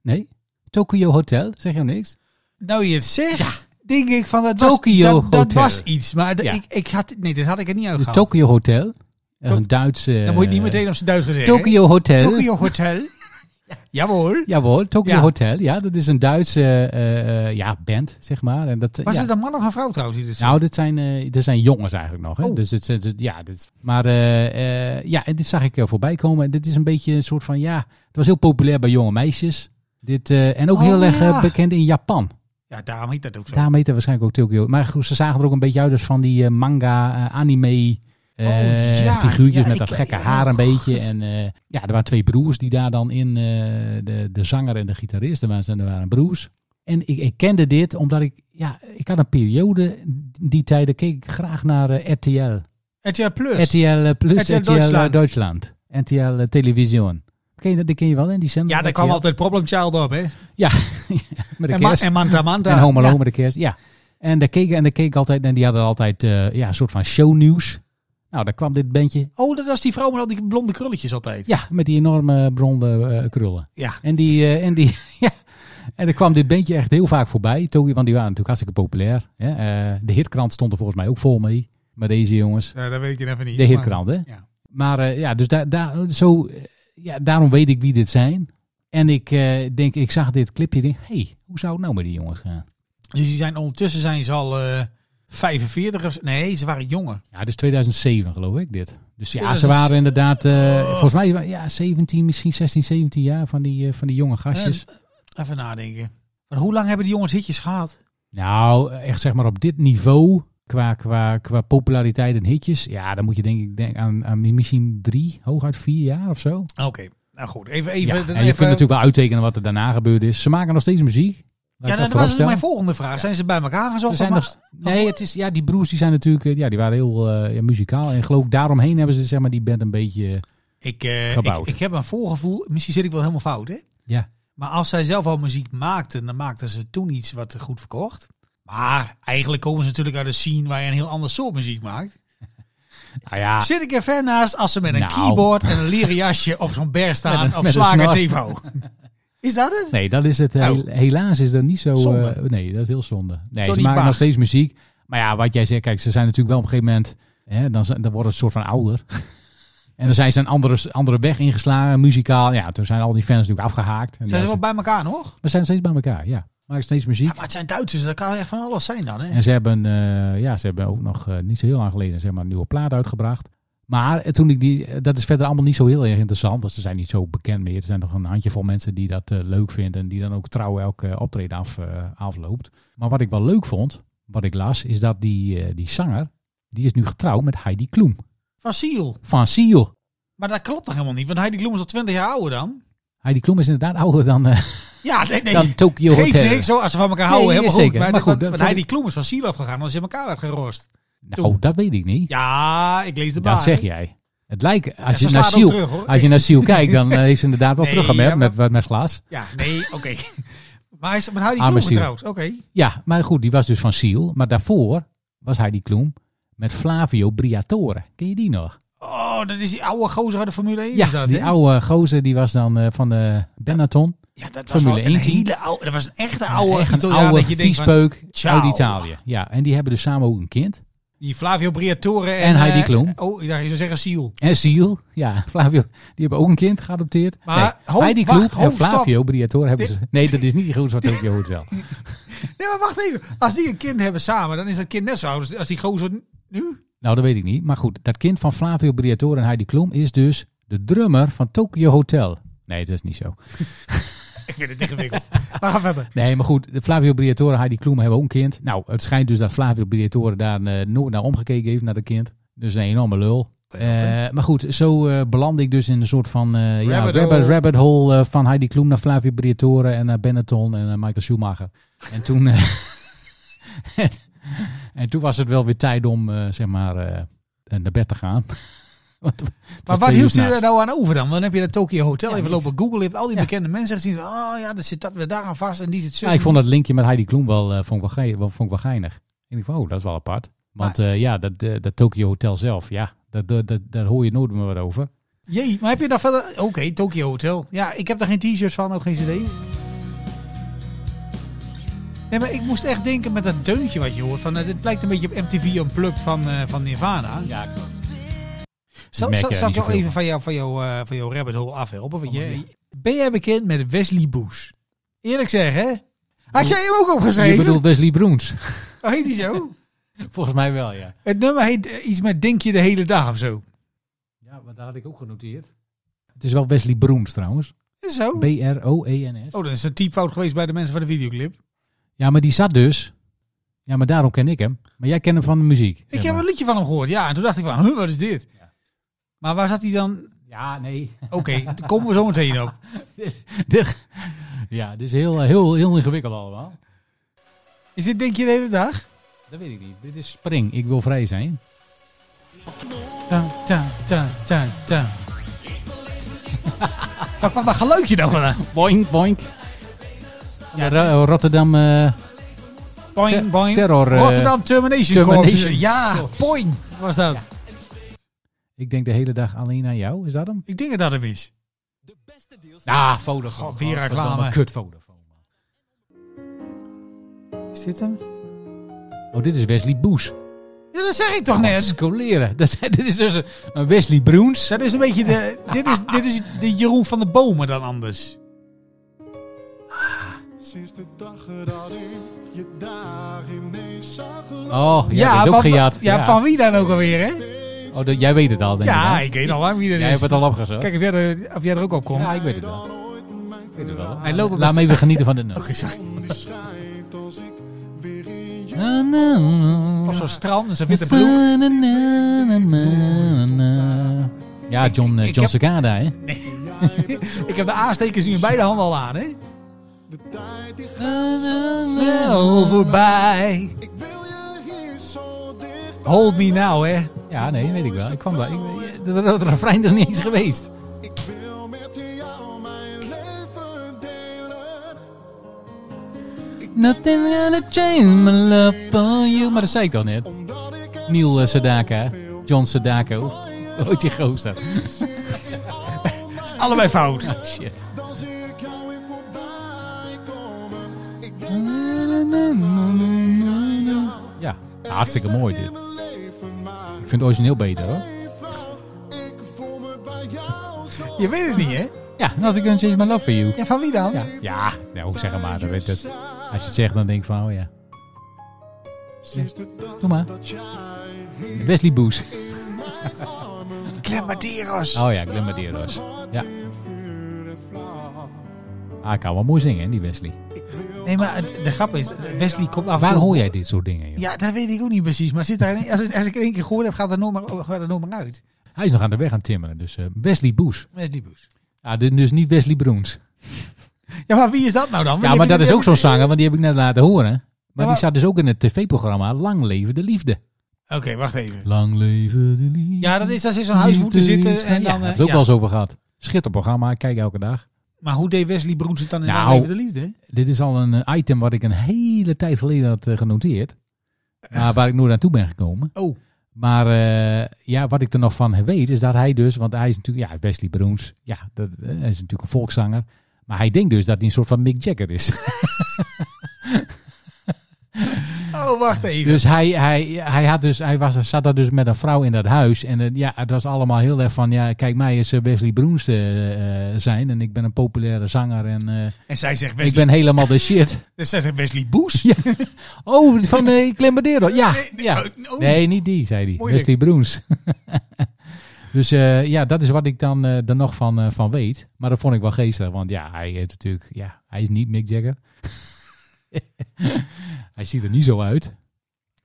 Speaker 5: Nee? Tokyo Hotel, zeg je niks?
Speaker 4: Nou, je het zegt, denk ik van dat
Speaker 5: Tokyo
Speaker 4: was, dat, dat
Speaker 5: Hotel.
Speaker 4: was iets. Maar dat-
Speaker 5: Ja.
Speaker 4: ik, ik had, nee, dit had ik het niet
Speaker 5: Dus
Speaker 4: uitgehaald.
Speaker 5: Tokyo Hotel. Dat is een Duitse... eh,
Speaker 4: Dan moet je het niet meteen op zijn Duits gezegd.
Speaker 5: Tokyo Hotel.
Speaker 4: Tokyo Hotel. Jawohl.
Speaker 5: Jawohl, Tokyo
Speaker 4: Ja.
Speaker 5: Hotel. Ja, dat is een Duitse eh, eh, ja, band, zeg maar. En dat, eh,
Speaker 4: Was
Speaker 5: ja.
Speaker 4: het een man of een vrouw trouwens? Die dit zong?
Speaker 5: Nou, dit zijn, eh, dit zijn jongens eigenlijk nog. Hè?
Speaker 4: Dus, Oh.
Speaker 5: Dus het, het- het- ja, dit, maar eh, eh, ja, en dit zag ik eh, voorbij komen. En dit is een beetje een soort van, ja, het was heel populair bij jonge meisjes. Dit, eh, en ook
Speaker 4: Oh,
Speaker 5: heel erg eh,
Speaker 4: ja.
Speaker 5: bekend in Japan.
Speaker 4: Ja, daarom heet dat ook zo.
Speaker 5: Daarom heet het waarschijnlijk ook Tokyo. Maar goed, ze zagen er ook een beetje uit als van die eh, manga, eh, anime eh,
Speaker 4: Oh, ja,
Speaker 5: figuurtjes
Speaker 4: ja,
Speaker 5: met dat
Speaker 4: ik-
Speaker 5: gekke
Speaker 4: ja,
Speaker 5: haar een
Speaker 4: god.
Speaker 5: beetje. En eh, ja, er waren twee broers die daar dan in, eh, de, de zanger en de gitarist, er waren, er waren broers. En ik, ik kende dit omdat ik, ja, ik had een periode, die tijden keek ik graag naar eh, RTL.
Speaker 4: RTL Plus.
Speaker 5: RTL eh, Plus,
Speaker 4: RTL
Speaker 5: RTL, Duitsland.
Speaker 4: Duitsland.
Speaker 5: RTL eh, Television. Ken je, dat die ken je wel, hè? Die zender
Speaker 4: Ja, daar
Speaker 5: RTL.
Speaker 4: kwam altijd Problem Child op, hè?
Speaker 5: Met de
Speaker 4: En, ma
Speaker 5: kerst.
Speaker 4: en Manta Manta.
Speaker 5: En Home Alone
Speaker 4: Ja.
Speaker 5: met de kerst, ja. En daar keek, en daar keek ik altijd, en die hadden altijd eh, ja, een soort van shownieuws. Nou, daar kwam dit bandje.
Speaker 4: Oh, dat was die vrouw met al die blonde krulletjes altijd.
Speaker 5: Ja, met die enorme blonde eh, krullen.
Speaker 4: Ja.
Speaker 5: En die, eh, en die, ja. En er kwam dit bandje echt heel vaak voorbij. Togi, want die waren natuurlijk hartstikke populair. Hè? Eh, de hitkrant stond er volgens mij ook vol mee. Met deze jongens.
Speaker 4: Nou, dat weet ik even niet.
Speaker 5: De
Speaker 4: maar-
Speaker 5: hitkrant, hè?
Speaker 4: Ja.
Speaker 5: Maar eh, ja, dus daar, daar, zo, eh, ja, daarom weet ik wie dit zijn. En ik eh, denk, ik zag dit clipje. denk, hey, hoe zou het nou met die jongens gaan?
Speaker 4: Dus die zijn, ondertussen zijn ze al eh 45 of zo. Nee, ze waren jonger.
Speaker 5: Ja, dit is 2007 geloof ik dit. Dus ja,
Speaker 4: 2000
Speaker 5: ze waren inderdaad, eh,
Speaker 4: Oh.
Speaker 5: volgens mij wa- ja, 17, misschien 16, 17 jaar van die, eh, van die jonge gastjes.
Speaker 4: Eh, Even nadenken. Maar hoe lang hebben die jongens hitjes gehad?
Speaker 5: Nou, echt zeg maar op dit niveau, qua, qua, qua populariteit en hitjes. Ja, dan moet je denk ik denk aan, aan misschien drie, hooguit vier jaar of zo.
Speaker 4: Oké, nou goed. Even,
Speaker 5: Ja,
Speaker 4: even.
Speaker 5: en je
Speaker 4: even
Speaker 5: kunt natuurlijk wel uittekenen wat er daarna gebeurd is. Ze maken nog steeds muziek. Laat
Speaker 4: ja,
Speaker 5: ik
Speaker 4: dat was dus
Speaker 5: vooropstellen.
Speaker 4: mijn volgende vraag. Zijn ze bij elkaar
Speaker 5: Ze
Speaker 4: gezocht?
Speaker 5: zijn
Speaker 4: Maar-
Speaker 5: nog, nee, het is, ja, die broers die zijn natuurlijk, eh, ja, die waren heel eh, ja, muzikaal. En geloof ik daaromheen hebben ze zeg maar, die band een beetje... eh,
Speaker 4: ik, eh, ik,
Speaker 5: gebouwd.
Speaker 4: ik heb een voorgevoel. Misschien zit ik wel helemaal fout, hè?
Speaker 5: Ja.
Speaker 4: Maar als zij zelf al muziek maakten, dan maakten ze toen iets wat goed verkocht. Maar eigenlijk komen ze natuurlijk uit een scene waar je een heel ander soort muziek maakt.
Speaker 5: nou ja,
Speaker 4: Zit ik er ver naast als ze met een
Speaker 5: Nou.
Speaker 4: keyboard en een leren jasje op zo'n berg staan
Speaker 5: Met een-
Speaker 4: op
Speaker 5: met een
Speaker 4: Slager TV.
Speaker 5: snor.
Speaker 4: Is dat het?
Speaker 5: Nee, dat is het. eh,
Speaker 4: Nou,
Speaker 5: Hel- Helaas is dat niet zo.
Speaker 4: zonde.
Speaker 5: eh, nee, dat is heel zonde. Nee,
Speaker 4: Tony
Speaker 5: ze maken
Speaker 4: Bach.
Speaker 5: nog steeds muziek. Maar ja, wat jij zegt, kijk, ze zijn natuurlijk wel op een gegeven moment. Hè, dan, zijn- dan worden ze een soort van ouder. en dan zijn ze een andere, andere weg ingeslagen, muzikaal. Ja, toen zijn al die fans natuurlijk afgehaakt. En
Speaker 4: Zijn ze
Speaker 5: ja,
Speaker 4: wel bij elkaar nog?
Speaker 5: ze- maar ze zijn nog steeds bij elkaar, ja. Maken steeds muziek.
Speaker 4: Ja, maar het zijn Duitsers, dat kan echt van alles zijn dan, hè?
Speaker 5: En ze hebben, eh, ja, ze hebben ook nog eh, niet zo heel lang geleden zeg maar, een nieuwe plaat uitgebracht. Maar eh, toen ik die, eh, dat is verder allemaal niet zo heel erg interessant, want ze zijn niet zo bekend meer. Er zijn nog een handjevol mensen die dat eh, leuk vinden en die dan ook trouw elke eh, optreden af, eh, afloopt. Maar wat ik wel leuk vond, wat ik las, is dat die, eh, die zanger, die is nu getrouwd met Heidi Kloem
Speaker 4: Van Siel.
Speaker 5: van Seal.
Speaker 4: Maar dat klopt toch helemaal niet? Want Heidi Kloem is al 20 jaar ouder dan?
Speaker 5: Heidi Kloem is inderdaad ouder dan, eh
Speaker 4: Ja, nee, nee.
Speaker 5: dan Tokyo
Speaker 4: Geef
Speaker 5: Hotel.
Speaker 4: niks, hoor. als ze van elkaar houden,
Speaker 5: Nee,
Speaker 4: helemaal
Speaker 5: ja,
Speaker 4: goed.
Speaker 5: zeker.
Speaker 4: Maar,
Speaker 5: Maar goed,
Speaker 4: want-
Speaker 5: dat
Speaker 4: want
Speaker 5: vond
Speaker 4: Heidi Kloem is van Siel afgegaan, want ze in elkaar had gerost.
Speaker 5: Nou, dat weet ik niet.
Speaker 4: Ja, ik lees de
Speaker 5: dat
Speaker 4: bladen.
Speaker 5: zeg jij. Het lijkt, als,
Speaker 4: ze
Speaker 5: je naar
Speaker 4: slaat ook
Speaker 5: Seal,
Speaker 4: terug, hoor.
Speaker 5: als je naar Seal kijkt, dan eh, heeft ze inderdaad wel
Speaker 4: Nee,
Speaker 5: teruggemerkt
Speaker 4: ja, maar-
Speaker 5: met, met, met glas.
Speaker 4: Ja, nee, oké. Maar hij is met Heidi
Speaker 5: Arme
Speaker 4: Klum
Speaker 5: ziel.
Speaker 4: getrouwd. Oké.
Speaker 5: Ja, maar goed, die was dus van Siel. Maar daarvoor was hij die Kloem met Flavio Briatore. Ken je die nog?
Speaker 4: Oh, dat is die oude gozer uit de Formule 1.
Speaker 5: Ja,
Speaker 4: is dat,
Speaker 5: die
Speaker 4: hè?
Speaker 5: oude gozer die was dan eh, van de Benetton.
Speaker 4: Ja, dat was
Speaker 5: Formule
Speaker 4: wel een
Speaker 5: 1 team.
Speaker 4: hele oude. Dat was een echte oude
Speaker 5: Echt een
Speaker 4: Italiaan
Speaker 5: oude
Speaker 4: dat je denkt van,
Speaker 5: viespeuk
Speaker 4: ciao.
Speaker 5: uit Italië. Ja, en die hebben dus samen ook een kind.
Speaker 4: die Flavio Briatore en,
Speaker 5: En Heidi
Speaker 4: eh,
Speaker 5: Klum.
Speaker 4: oh, ik dacht je zou zeggen Siel.
Speaker 5: En Siel, ja, Flavio, die hebben ook een kind geadopteerd.
Speaker 4: Maar,
Speaker 5: nee,
Speaker 4: ho,
Speaker 5: Heidi
Speaker 4: wacht,
Speaker 5: Kloem
Speaker 4: ho,
Speaker 5: en
Speaker 4: stop.
Speaker 5: Flavio Briatore hebben
Speaker 4: Dit-
Speaker 5: ze... Nee, dat is niet goed wat Tokyo Hotel.
Speaker 4: Nee, maar wacht even. Als die een kind hebben samen, dan is dat kind net zo oud als- als die gozer nu.
Speaker 5: Nou, dat weet ik niet. Maar goed, dat kind van Flavio Briatore en Heidi Klum is dus de drummer van Tokyo Hotel. Nee, dat is niet zo.
Speaker 4: Ik vind het ingewikkeld. maar ga verder.
Speaker 5: Nee, maar goed, Flavio Briatore en Heidi Klum hebben ook een kind. Nou, het schijnt dus dat Flavio Briatore daar eh, nooit naar omgekeken heeft, naar dat kind. Dus een enorme lul. Eh, maar goed, zo eh beland ik dus in een soort van eh, ja,
Speaker 4: Rabbit
Speaker 5: rabbit,
Speaker 4: hole.
Speaker 5: rabbit, hole eh, van Heidi Klum naar Flavio Briatore en naar Benetton en naar Michael Schumacher. En toen, eh, en, toen was het wel weer tijd om eh, zeg maar eh, naar bed te gaan. Want het was
Speaker 4: Maar wat
Speaker 5: twee uur
Speaker 4: hield je
Speaker 5: s'nachts.
Speaker 4: er nou aan over dan? Dan heb je dat Tokyo Hotel
Speaker 5: Ja,
Speaker 4: even
Speaker 5: niks.
Speaker 4: lopen googlen. Je hebt al die
Speaker 5: Ja.
Speaker 4: bekende mensen gezien. Oh ja, dat zit dat weer daar aan vast en die zit zo.
Speaker 5: Ja, Nou, ik vond dat linkje met Heidi Klum wel, eh, vond ik wel, ge- wel- vond ik wel geinig. En ik vond, oh, dat is wel apart. Want eh, ja, dat, eh, dat Tokyo Hotel zelf, ja, dat, dat, dat- daar hoor je nooit meer wat over.
Speaker 4: Jee, maar heb je daar verder... Oké, Tokyo Hotel. Ja, ik heb daar geen t-shirts van, ook geen cd's. Nee, maar ik moest echt denken met dat deuntje wat je hoort. Van, eh, dit lijkt een beetje op MTV Unplugged van, eh, van Nirvana.
Speaker 5: Ja, klopt.
Speaker 4: Zal,
Speaker 5: merk
Speaker 4: zal,
Speaker 5: er
Speaker 4: zal ik
Speaker 5: niet
Speaker 4: jou
Speaker 5: zoveel
Speaker 4: even van jouw van jou, eh, van jou rabbit hole afhelpen? Want
Speaker 5: Oh,
Speaker 4: jij-
Speaker 5: ja.
Speaker 4: Ben jij bekend met Wesley Boes? Eerlijk zeggen, had jij hem ook
Speaker 5: Je
Speaker 4: opgeschreven?
Speaker 5: bedoelt Wesley Broens.
Speaker 4: Oh, heet hij zo?
Speaker 5: Volgens mij wel, ja.
Speaker 4: Het nummer heet eh, iets met Denk je de hele dag of zo.
Speaker 5: Ja, want dat had ik ook genoteerd. Het is wel Wesley Broens trouwens.
Speaker 4: Is het zo?
Speaker 5: B-R-O-E-N-S.
Speaker 4: Oh, dan is het een typfout geweest bij de mensen van de videoclip.
Speaker 5: E Ja, maar die zat dus. Ja, maar daarom ken ik hem. Maar jij kent hem van de muziek. zeg
Speaker 4: Ik heb
Speaker 5: maar.
Speaker 4: een liedje van hem gehoord, ja. En toen dacht ik van, huh, wat is dit? Maar waar zat hij dan?
Speaker 5: Ja, nee.
Speaker 4: Oké, daar komen we zo meteen op.
Speaker 5: Dit- ja, dit is heel, eh, heel, heel ingewikkeld allemaal.
Speaker 4: Is dit denk je de hele dag?
Speaker 5: Dat weet ik niet. Dit is Spring. Ik wil vrij zijn.
Speaker 4: Ta, ta, ta, ta, ta. Waar kwam dat geluidje nou vandaan?
Speaker 5: Boink, boink.
Speaker 4: Ja,
Speaker 5: Ro- Rotterdam. eh,
Speaker 4: Boing, boing.
Speaker 5: terror, eh,
Speaker 4: Rotterdam Termination,
Speaker 5: Termination
Speaker 4: Corps. Ja,
Speaker 5: Corps.
Speaker 4: boing was dat.
Speaker 5: ik denk de hele dag alleen aan jou. Is dat hem?
Speaker 4: Ik denk dat dat hem is.
Speaker 5: Ah, Vodafone.
Speaker 4: God, weer
Speaker 5: Oh,
Speaker 4: reclame.
Speaker 5: verdomme, Kut Vodafone.
Speaker 4: Is dit hem?
Speaker 5: Oh, dit is Wesley Boes.
Speaker 4: Ja, dat zeg ik toch
Speaker 5: Dat
Speaker 4: net.
Speaker 5: is coleren. Dat, is- dit is dus een- een Wesley Broens.
Speaker 4: Dat is een beetje de... Dit is, dit is de Jeroen van de Bomen dan anders.
Speaker 6: Sinds de dag dat ik je daar ineens zag lopen.
Speaker 5: Oh, ja, dat is ook
Speaker 4: van,
Speaker 5: gejat.
Speaker 4: ja, van wie dan ook alweer, hè?
Speaker 5: Oh, dat- jij weet het al, denk ik.
Speaker 4: Ja,
Speaker 5: hè?
Speaker 4: ik weet al lang wie dat
Speaker 5: Jij
Speaker 4: is.
Speaker 5: hebt het al opgezocht.
Speaker 4: Kijk of jij er, of jij er ook op komt.
Speaker 5: ja, ik weet het wel.
Speaker 6: Dan ooit mijn
Speaker 4: Hij loopt op
Speaker 5: Laat me
Speaker 4: de Oh,
Speaker 5: even genieten van de nummer.
Speaker 6: zon die schijnt als ik weer in je
Speaker 5: Na, na, na.
Speaker 4: op zo'n strand en ze vindt een broek.
Speaker 5: Na, na, na, na, na. Ja, John, eh,
Speaker 4: ik
Speaker 5: John
Speaker 4: heb-
Speaker 5: Cicada, hè?
Speaker 4: Ik heb de aanstekers nu in beide handen al aan, hè?
Speaker 6: de tijd die gaat.
Speaker 4: Snel voorbij.
Speaker 6: Ik wil je hier zo dicht.
Speaker 4: Hold me now, hè?
Speaker 5: Ja, nee, weet ik wel. Ik kwam wel. Ik, ik- dat, dat refrein is niet eens geweest.
Speaker 6: Ik wil met jou mijn leven delen.
Speaker 5: Nothing gonna change my love for you. Maar dat zei ik dan net.
Speaker 6: Omdat ik het
Speaker 5: Neil eh, Sedaka. John Sedaka. hoe- hoe heet die gozer? Ah,
Speaker 4: Allebei fout.
Speaker 5: Shit.
Speaker 6: dan zie ik jou weer voorbij komen. Ik denk
Speaker 5: Ja, hartstikke mooi dit.
Speaker 6: mijn leven maar
Speaker 5: Ik vind het origineel beter hoor.
Speaker 6: even. Ik voel me bij jou zo.
Speaker 4: Je weet het niet, hè?
Speaker 5: Ja, Nothing gonna change my love for you.
Speaker 4: Ja, van wie dan?
Speaker 5: Ja, ja nou zeg maar. Dan weet het. Als je het zegt, dan denk ik van, oh ja.
Speaker 6: Sinds de dag
Speaker 5: Doe maar.
Speaker 6: dat jij hier
Speaker 5: Wesley Boes.
Speaker 6: in mijn armen
Speaker 4: Clemaderos.
Speaker 5: Oh ja, Glimmerderos. Ja.
Speaker 6: in vuur en vlam.
Speaker 5: Ah, ik kan wel mooi zingen, hè, die Wesley.
Speaker 4: Nee, maar het- de grap is, Wesley komt af en
Speaker 5: Waar
Speaker 4: toe...
Speaker 5: hoor jij dit soort dingen, joh?
Speaker 4: Ja, dat weet ik ook niet precies. Maar zit daar, als, als ik er één keer gehoord heb, gaat er nooit meer, gaat er nooit meer uit.
Speaker 5: Hij is nog aan de weg aan het timmeren, dus eh, Wesley Boes.
Speaker 4: Wesley Boes.
Speaker 5: Ja, dus dus niet Wesley Broens.
Speaker 4: Ja, maar wie is dat nou dan?
Speaker 5: Ja, maar dat is ook zo'n zanger, want die heb ik net laten horen. Maar
Speaker 4: maar-
Speaker 5: die staat dus ook in het tv-programma Lang Leven de Liefde.
Speaker 4: Oké, wacht even.
Speaker 5: Lang Leven de Liefde.
Speaker 4: Ja, dat is dat ze in zo'n huis moeten zitten en dan...
Speaker 5: Ja, daar
Speaker 4: eh,
Speaker 5: hebben we het ook
Speaker 4: ja.
Speaker 5: wel eens over gehad. Schitterprogramma, ik kijk elke dag.
Speaker 4: Maar hoe deed Wesley Broens het dan in
Speaker 5: Nou,
Speaker 4: nou, Leven de Liefde? hè?
Speaker 5: Dit is al een eh, item wat ik een hele tijd geleden had eh, genoteerd. Maar waar ik nooit naartoe ben gekomen.
Speaker 4: Oh.
Speaker 5: Maar eh, ja, wat ik er nog van weet is dat hij dus, want hij is natuurlijk, ja, Wesley Broens, ja, dat, eh, hij is natuurlijk een volkszanger. Maar hij denkt dus dat hij een soort van Mick Jagger is.
Speaker 4: Oh, wacht even.
Speaker 5: dus hij, hij, hij, had dus, hij was, zat daar dus met een vrouw in dat huis. En eh, ja, het was allemaal heel erg van, ja, kijk mij is eh, Wesley Broens eh, eh, zijn. En ik ben een populaire zanger en eh,
Speaker 4: en zij zegt
Speaker 5: ik
Speaker 4: Wesley,
Speaker 5: ben helemaal de shit.
Speaker 4: dus zij zegt Wesley Boes.
Speaker 5: Oh, van eh Clem Badeiro. Ja,
Speaker 4: Nee, nee,
Speaker 5: ja.
Speaker 4: oh, oh.
Speaker 5: Nee, niet die, zei hij.
Speaker 4: Moeilijk.
Speaker 5: Wesley Broens. dus eh, ja, dat is wat ik dan eh er nog van, eh, van weet. Maar dat vond ik wel geestig, want ja, hij heeft natuurlijk, ja, hij is niet Mick Jagger. hij ziet er niet zo uit.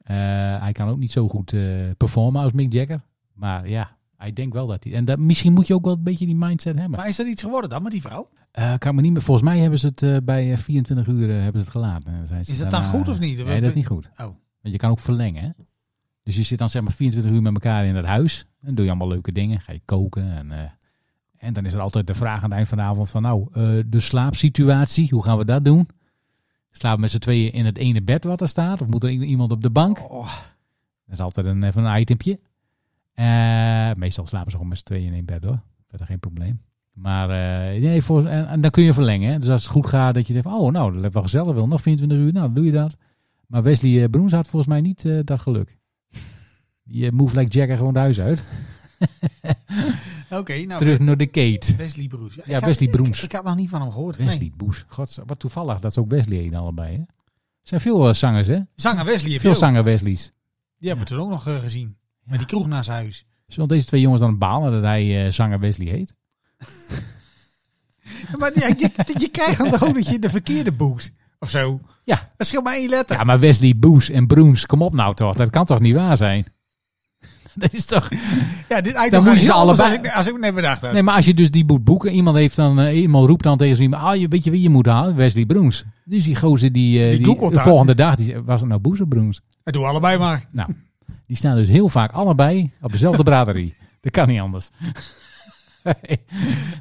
Speaker 5: Eh, hij kan ook niet zo goed eh, performen als Mick Jagger. Maar ja, hij denkt wel dat hij. En dat, misschien moet je ook wel een beetje die mindset hebben.
Speaker 4: Maar is dat iets geworden dan met die vrouw?
Speaker 5: Eh, kan me niet meer. Volgens mij hebben ze het eh, bij eh, 24 uur eh, hebben ze het gelaten. Eh, zijn ze
Speaker 4: Is dat dan
Speaker 5: daarna-
Speaker 4: goed of niet?
Speaker 5: Nee, dat is niet goed.
Speaker 4: Oh.
Speaker 5: Want je kan ook verlengen. Hè? Dus je zit dan zeg maar 24 uur met elkaar in het huis. En doe je allemaal leuke dingen. Ga je koken. En, eh, en dan is er altijd de vraag aan het eind van de avond van nou, eh, de slaapsituatie. Hoe gaan we dat doen? Slapen we met z'n tweeën in het ene bed wat er staat? Of moet er i- iemand op de bank?
Speaker 4: Oh,
Speaker 5: Dat is altijd een, even een itempje. Eh, meestal slapen ze gewoon met z'n tweeën in één bed hoor. Verder geen probleem. Maar eh, nee, voor, en, en dan kun je verlengen. Hè? Dus als het goed gaat, dat je denkt, van, oh nou, dat hebben we gezellig wel. Nog 24 uur, nou dan doe je dat. Maar Wesley eh, Broens had volgens mij niet eh, dat geluk. Je move like Jagger gewoon de huis uit.
Speaker 4: Oké, nou.
Speaker 5: Terug naar de Kate.
Speaker 4: Wesley Broes. Ja,
Speaker 5: Wesley Broens.
Speaker 4: Ik, ik had nog niet van hem gehoord.
Speaker 5: Wesley
Speaker 4: Nee.
Speaker 5: Boes. God, wat toevallig dat ze ook Wesley heen allebei. Hè? Er zijn veel eh, zangers hè.
Speaker 4: Zanger Wesley heeft
Speaker 5: Veel
Speaker 4: veel
Speaker 5: zanger Wesleys.
Speaker 4: Die hebben we toen ook nog eh, gezien. Met die kroeg naast huis.
Speaker 5: Zullen deze twee jongens dan balen dat hij eh, zanger Wesley heet?
Speaker 4: Maar ja, je, je krijgt hem toch ook dat je de verkeerde boekt? Of zo?
Speaker 5: Ja.
Speaker 4: Dat scheelt maar één letter.
Speaker 5: Ja, maar Wesley Boes en Broens, kom op nou toch. Dat kan toch niet waar zijn? Dat is toch...
Speaker 4: Ja, dit
Speaker 5: Dan
Speaker 4: item dan
Speaker 5: moeten ze
Speaker 4: heel anders als
Speaker 5: allebei-
Speaker 4: ik, als ik net bedacht had.
Speaker 5: Nee, maar als je dus die moet boeken, iemand, heeft dan, eh, iemand roept dan tegen zo iemand, ah, je, weet je wie je moet halen? Wesley Broens. Dus die gozer die, eh,
Speaker 4: Die
Speaker 5: die,
Speaker 4: googelt
Speaker 5: de
Speaker 4: dat.
Speaker 5: volgende dag, die, zei, was het nou Boes of Broens?
Speaker 4: Dat doen we allebei maar.
Speaker 5: Nou, die staan dus heel vaak allebei op dezelfde braderie. Dat kan niet anders.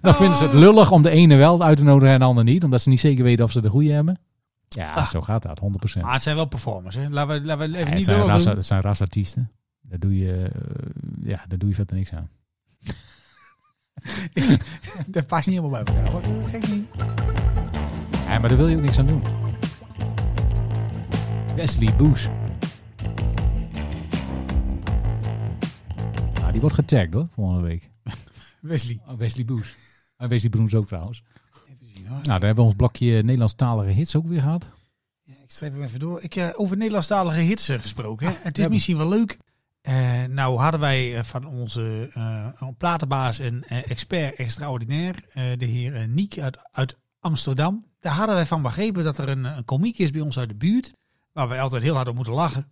Speaker 5: dan vinden ze het
Speaker 4: Oh.
Speaker 5: lullig om de ene wel uit te nodigen en de ander niet, omdat ze niet zeker weten of ze de goede hebben. Ja,
Speaker 4: Ah.
Speaker 5: zo gaat dat, 100%.
Speaker 4: Maar het zijn wel performers, hè. Laten we, laten we even
Speaker 5: Ja, het,
Speaker 4: niet
Speaker 5: zijn
Speaker 4: willen
Speaker 5: ras,
Speaker 4: doen.
Speaker 5: het zijn rasartiesten. Daar doe, je, eh, ja, daar doe je verder niks aan.
Speaker 4: Dat past niet helemaal bij elkaar. Wat eh, gek niet.
Speaker 5: Ja, maar daar wil je ook niks aan doen. Wesley Boes. Nou, die wordt getagd hoor, volgende week.
Speaker 4: Wesley.
Speaker 5: Oh, Wesley Boes. En Wesley Broens ook trouwens.
Speaker 4: Even zien, hoor.
Speaker 5: Nou, daar hebben we ons blokje Nederlandstalige hits ook weer gehad.
Speaker 4: Ja, ik schrijf hem even door. Ik, eh, over Nederlandstalige hits eh, gesproken. hè. het is
Speaker 5: hebben.
Speaker 4: misschien wel leuk. Eh, nou hadden wij eh, van onze eh, platenbaas en eh, expert extraordinair, eh, de heer eh, Niek uit, uit Amsterdam. Daar hadden wij van begrepen dat er een, eh, een komiek is bij ons uit de buurt. Waar wij altijd heel hard om moeten lachen.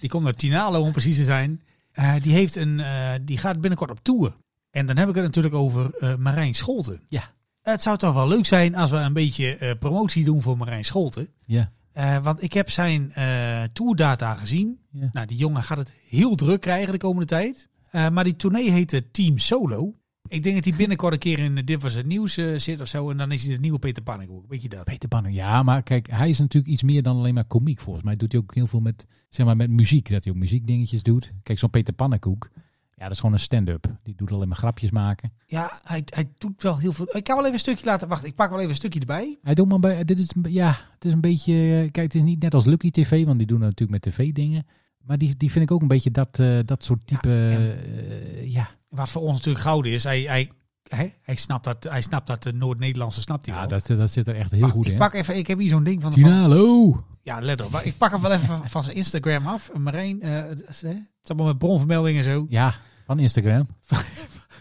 Speaker 4: Die komt uit Tinalo om precies te zijn. Eh, die, heeft een, eh, die gaat binnenkort op tour. En dan heb ik het natuurlijk over eh, Marijn Scholten.
Speaker 5: Ja.
Speaker 4: Het zou toch wel leuk zijn als we een beetje eh, promotie doen voor Marijn Scholten.
Speaker 5: Ja.
Speaker 4: Eh, want ik heb zijn eh tourdata gezien.
Speaker 5: Ja.
Speaker 4: Nou, die jongen gaat het heel druk krijgen de komende tijd. Eh, maar die tournee heette Team Solo. Ik denk dat hij binnenkort een keer in eh, Dit Was Het Nieuws eh, zit of zo. En dan is hij de nieuwe Peter Pannenkoek. Weet je dat?
Speaker 5: Peter Banning. Ja, maar kijk, hij is natuurlijk iets meer dan alleen maar komiek volgens mij. Doet hij ook heel veel met, zeg maar, met muziek. Dat hij ook muziekdingetjes doet. Kijk, zo'n Peter Pannenkoek. Ja, dat is gewoon een stand-up. Die doet alleen maar grapjes maken.
Speaker 4: Ja, hij, hij doet wel heel veel. Ik kan wel even een stukje laten. Wacht, ik pak wel even een stukje erbij.
Speaker 5: Hij doet maar bij, dit is, een be- ja, het is een beetje, eh, kijk, het is niet net als Lucky TV, want die doen natuurlijk met tv dingen. Maar die, die vind ik ook een beetje dat, eh, dat soort type,
Speaker 4: Ja, en-
Speaker 5: eh, ja.
Speaker 4: Wat voor ons natuurlijk gouden is. Hij, hij, hè? hij, snapt, dat, hij snapt dat de Noord-Nederlandse snapt hij
Speaker 5: Ja,
Speaker 4: wel.
Speaker 5: dat, dat zit er echt heel
Speaker 4: Wacht,
Speaker 5: goed
Speaker 4: ik
Speaker 5: in.
Speaker 4: pak even, ik heb hier zo'n ding van, van
Speaker 5: Tinalo!
Speaker 4: Ja, let op. Maar ik pak hem wel even van- van zijn Instagram af. Marijn, eh, het is, hè, het is allemaal met bronvermeldingen en zo.
Speaker 5: Ja, van Instagram.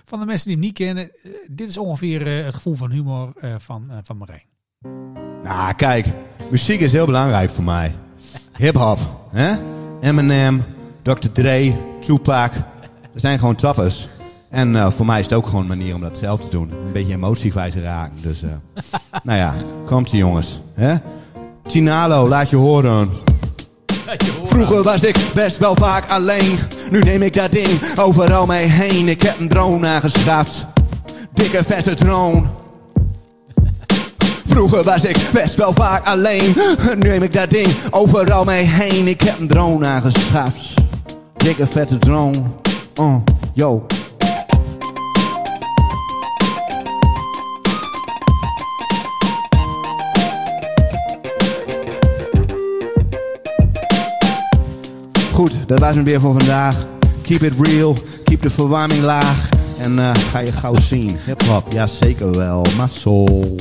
Speaker 4: Van de mensen die hem niet kennen, eh, dit is ongeveer eh, het gevoel van humor eh, van, eh, van Marijn.
Speaker 7: Nou, kijk, muziek is heel belangrijk voor mij. Hip-hop, hè? Eminem, Dr. Dre, Tupac. Dat zijn gewoon tappers. En eh, voor mij is het ook gewoon een manier om dat zelf te doen. Een beetje emotie kwijt te raken. Dus, eh, nou ja, komt ie jongens. Hè? Tinalo, laat je horen. Vroeger was ik best wel vaak alleen. Nu neem ik dat ding overal mee heen. Ik heb een drone aangeschaft. Dikke vette drone. Vroeger was ik best wel vaak alleen. Nu neem ik dat ding overal mee heen. Ik heb een drone aangeschaft. Dikke vette drone. Oh, yo. Goed, dat was het weer voor vandaag. Keep it real, keep de verwarming laag. En eh, ga je gauw zien. Hip-hop, ja zeker wel. Mazzel.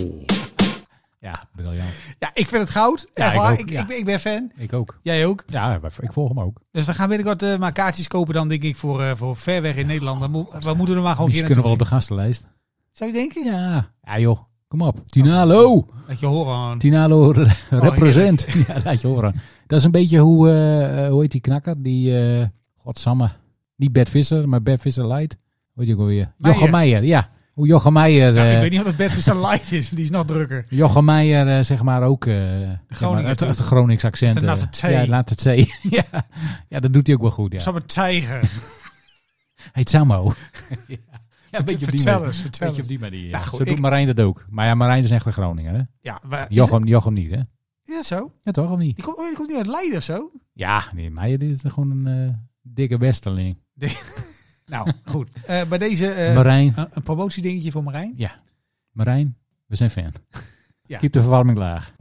Speaker 5: Ja, briljant.
Speaker 4: Ja, ik vind het goud.
Speaker 5: Ja,
Speaker 4: Echt
Speaker 5: ik
Speaker 4: waar.
Speaker 5: ook,
Speaker 4: ik,
Speaker 5: ja.
Speaker 4: ik, ben- ik ben fan.
Speaker 5: Ik ook.
Speaker 4: Jij ook.
Speaker 5: Ja, ik volg hem ook.
Speaker 4: Dus we gaan binnenkort eh, maar kaartjes kopen dan, denk ik, voor, eh, voor ver weg in Nederland. Dan moet- we moeten er maar gewoon
Speaker 5: Misschien
Speaker 4: hier
Speaker 5: kunnen we wel op
Speaker 4: naartoe.
Speaker 5: de gastenlijst.
Speaker 4: Zou je denken?
Speaker 5: Ja. Ja joh, kom op. Tinalo.
Speaker 4: Dat je horen
Speaker 5: Eh,
Speaker 4: aan.
Speaker 5: Tinalo re- represent. ja, laat je horen. Dat is een beetje hoe, eh, eh, hoe heet die knakker? Die, eh godsamme, niet Bert Visser, maar Bert Visser Light. Hoe heet die ook alweer?
Speaker 4: Meijer.
Speaker 5: Jochem Meijer, ja. Hoe Jochem Meijer,
Speaker 4: Ja, ik
Speaker 5: eh,
Speaker 4: weet niet of het best een light is. Die is nog drukker.
Speaker 5: Jochem Meijer eh, zeg maar ook eh zeg maar, het, het Gronings accent.
Speaker 4: De
Speaker 5: eh.
Speaker 4: laat het thee.
Speaker 5: ja, laat het zee. ja. ja, dat doet hij ook wel goed. Ja.
Speaker 4: Zo'n tijger.
Speaker 5: Heet Samo. ja. ja, een beetje op die
Speaker 4: Vertel
Speaker 5: manier.
Speaker 4: eens, vertel
Speaker 5: beetje
Speaker 4: eens.
Speaker 5: op die manier.
Speaker 4: Nou,
Speaker 5: ja.
Speaker 4: goed,
Speaker 5: Zo doet
Speaker 4: ik-
Speaker 5: Marijn dat ook. Maar ja, Marijn is echt een Groninger, hè?
Speaker 4: Ja, maar,
Speaker 5: Jochem, Jochem niet, hè?
Speaker 4: Is dat zo?
Speaker 5: Ja, toch? Of niet?
Speaker 4: Die komt, oh, ja, die komt niet uit Leiden of zo?
Speaker 5: Ja, nee, Meijer dit is gewoon een eh, dikke westerling.
Speaker 4: Nou, goed. Eh, bij deze eh,
Speaker 5: Marijn,
Speaker 4: een, een promotiedingetje voor Marijn.
Speaker 5: Marijn, we zijn fan.
Speaker 4: Ja.
Speaker 5: Keep de verwarming laag.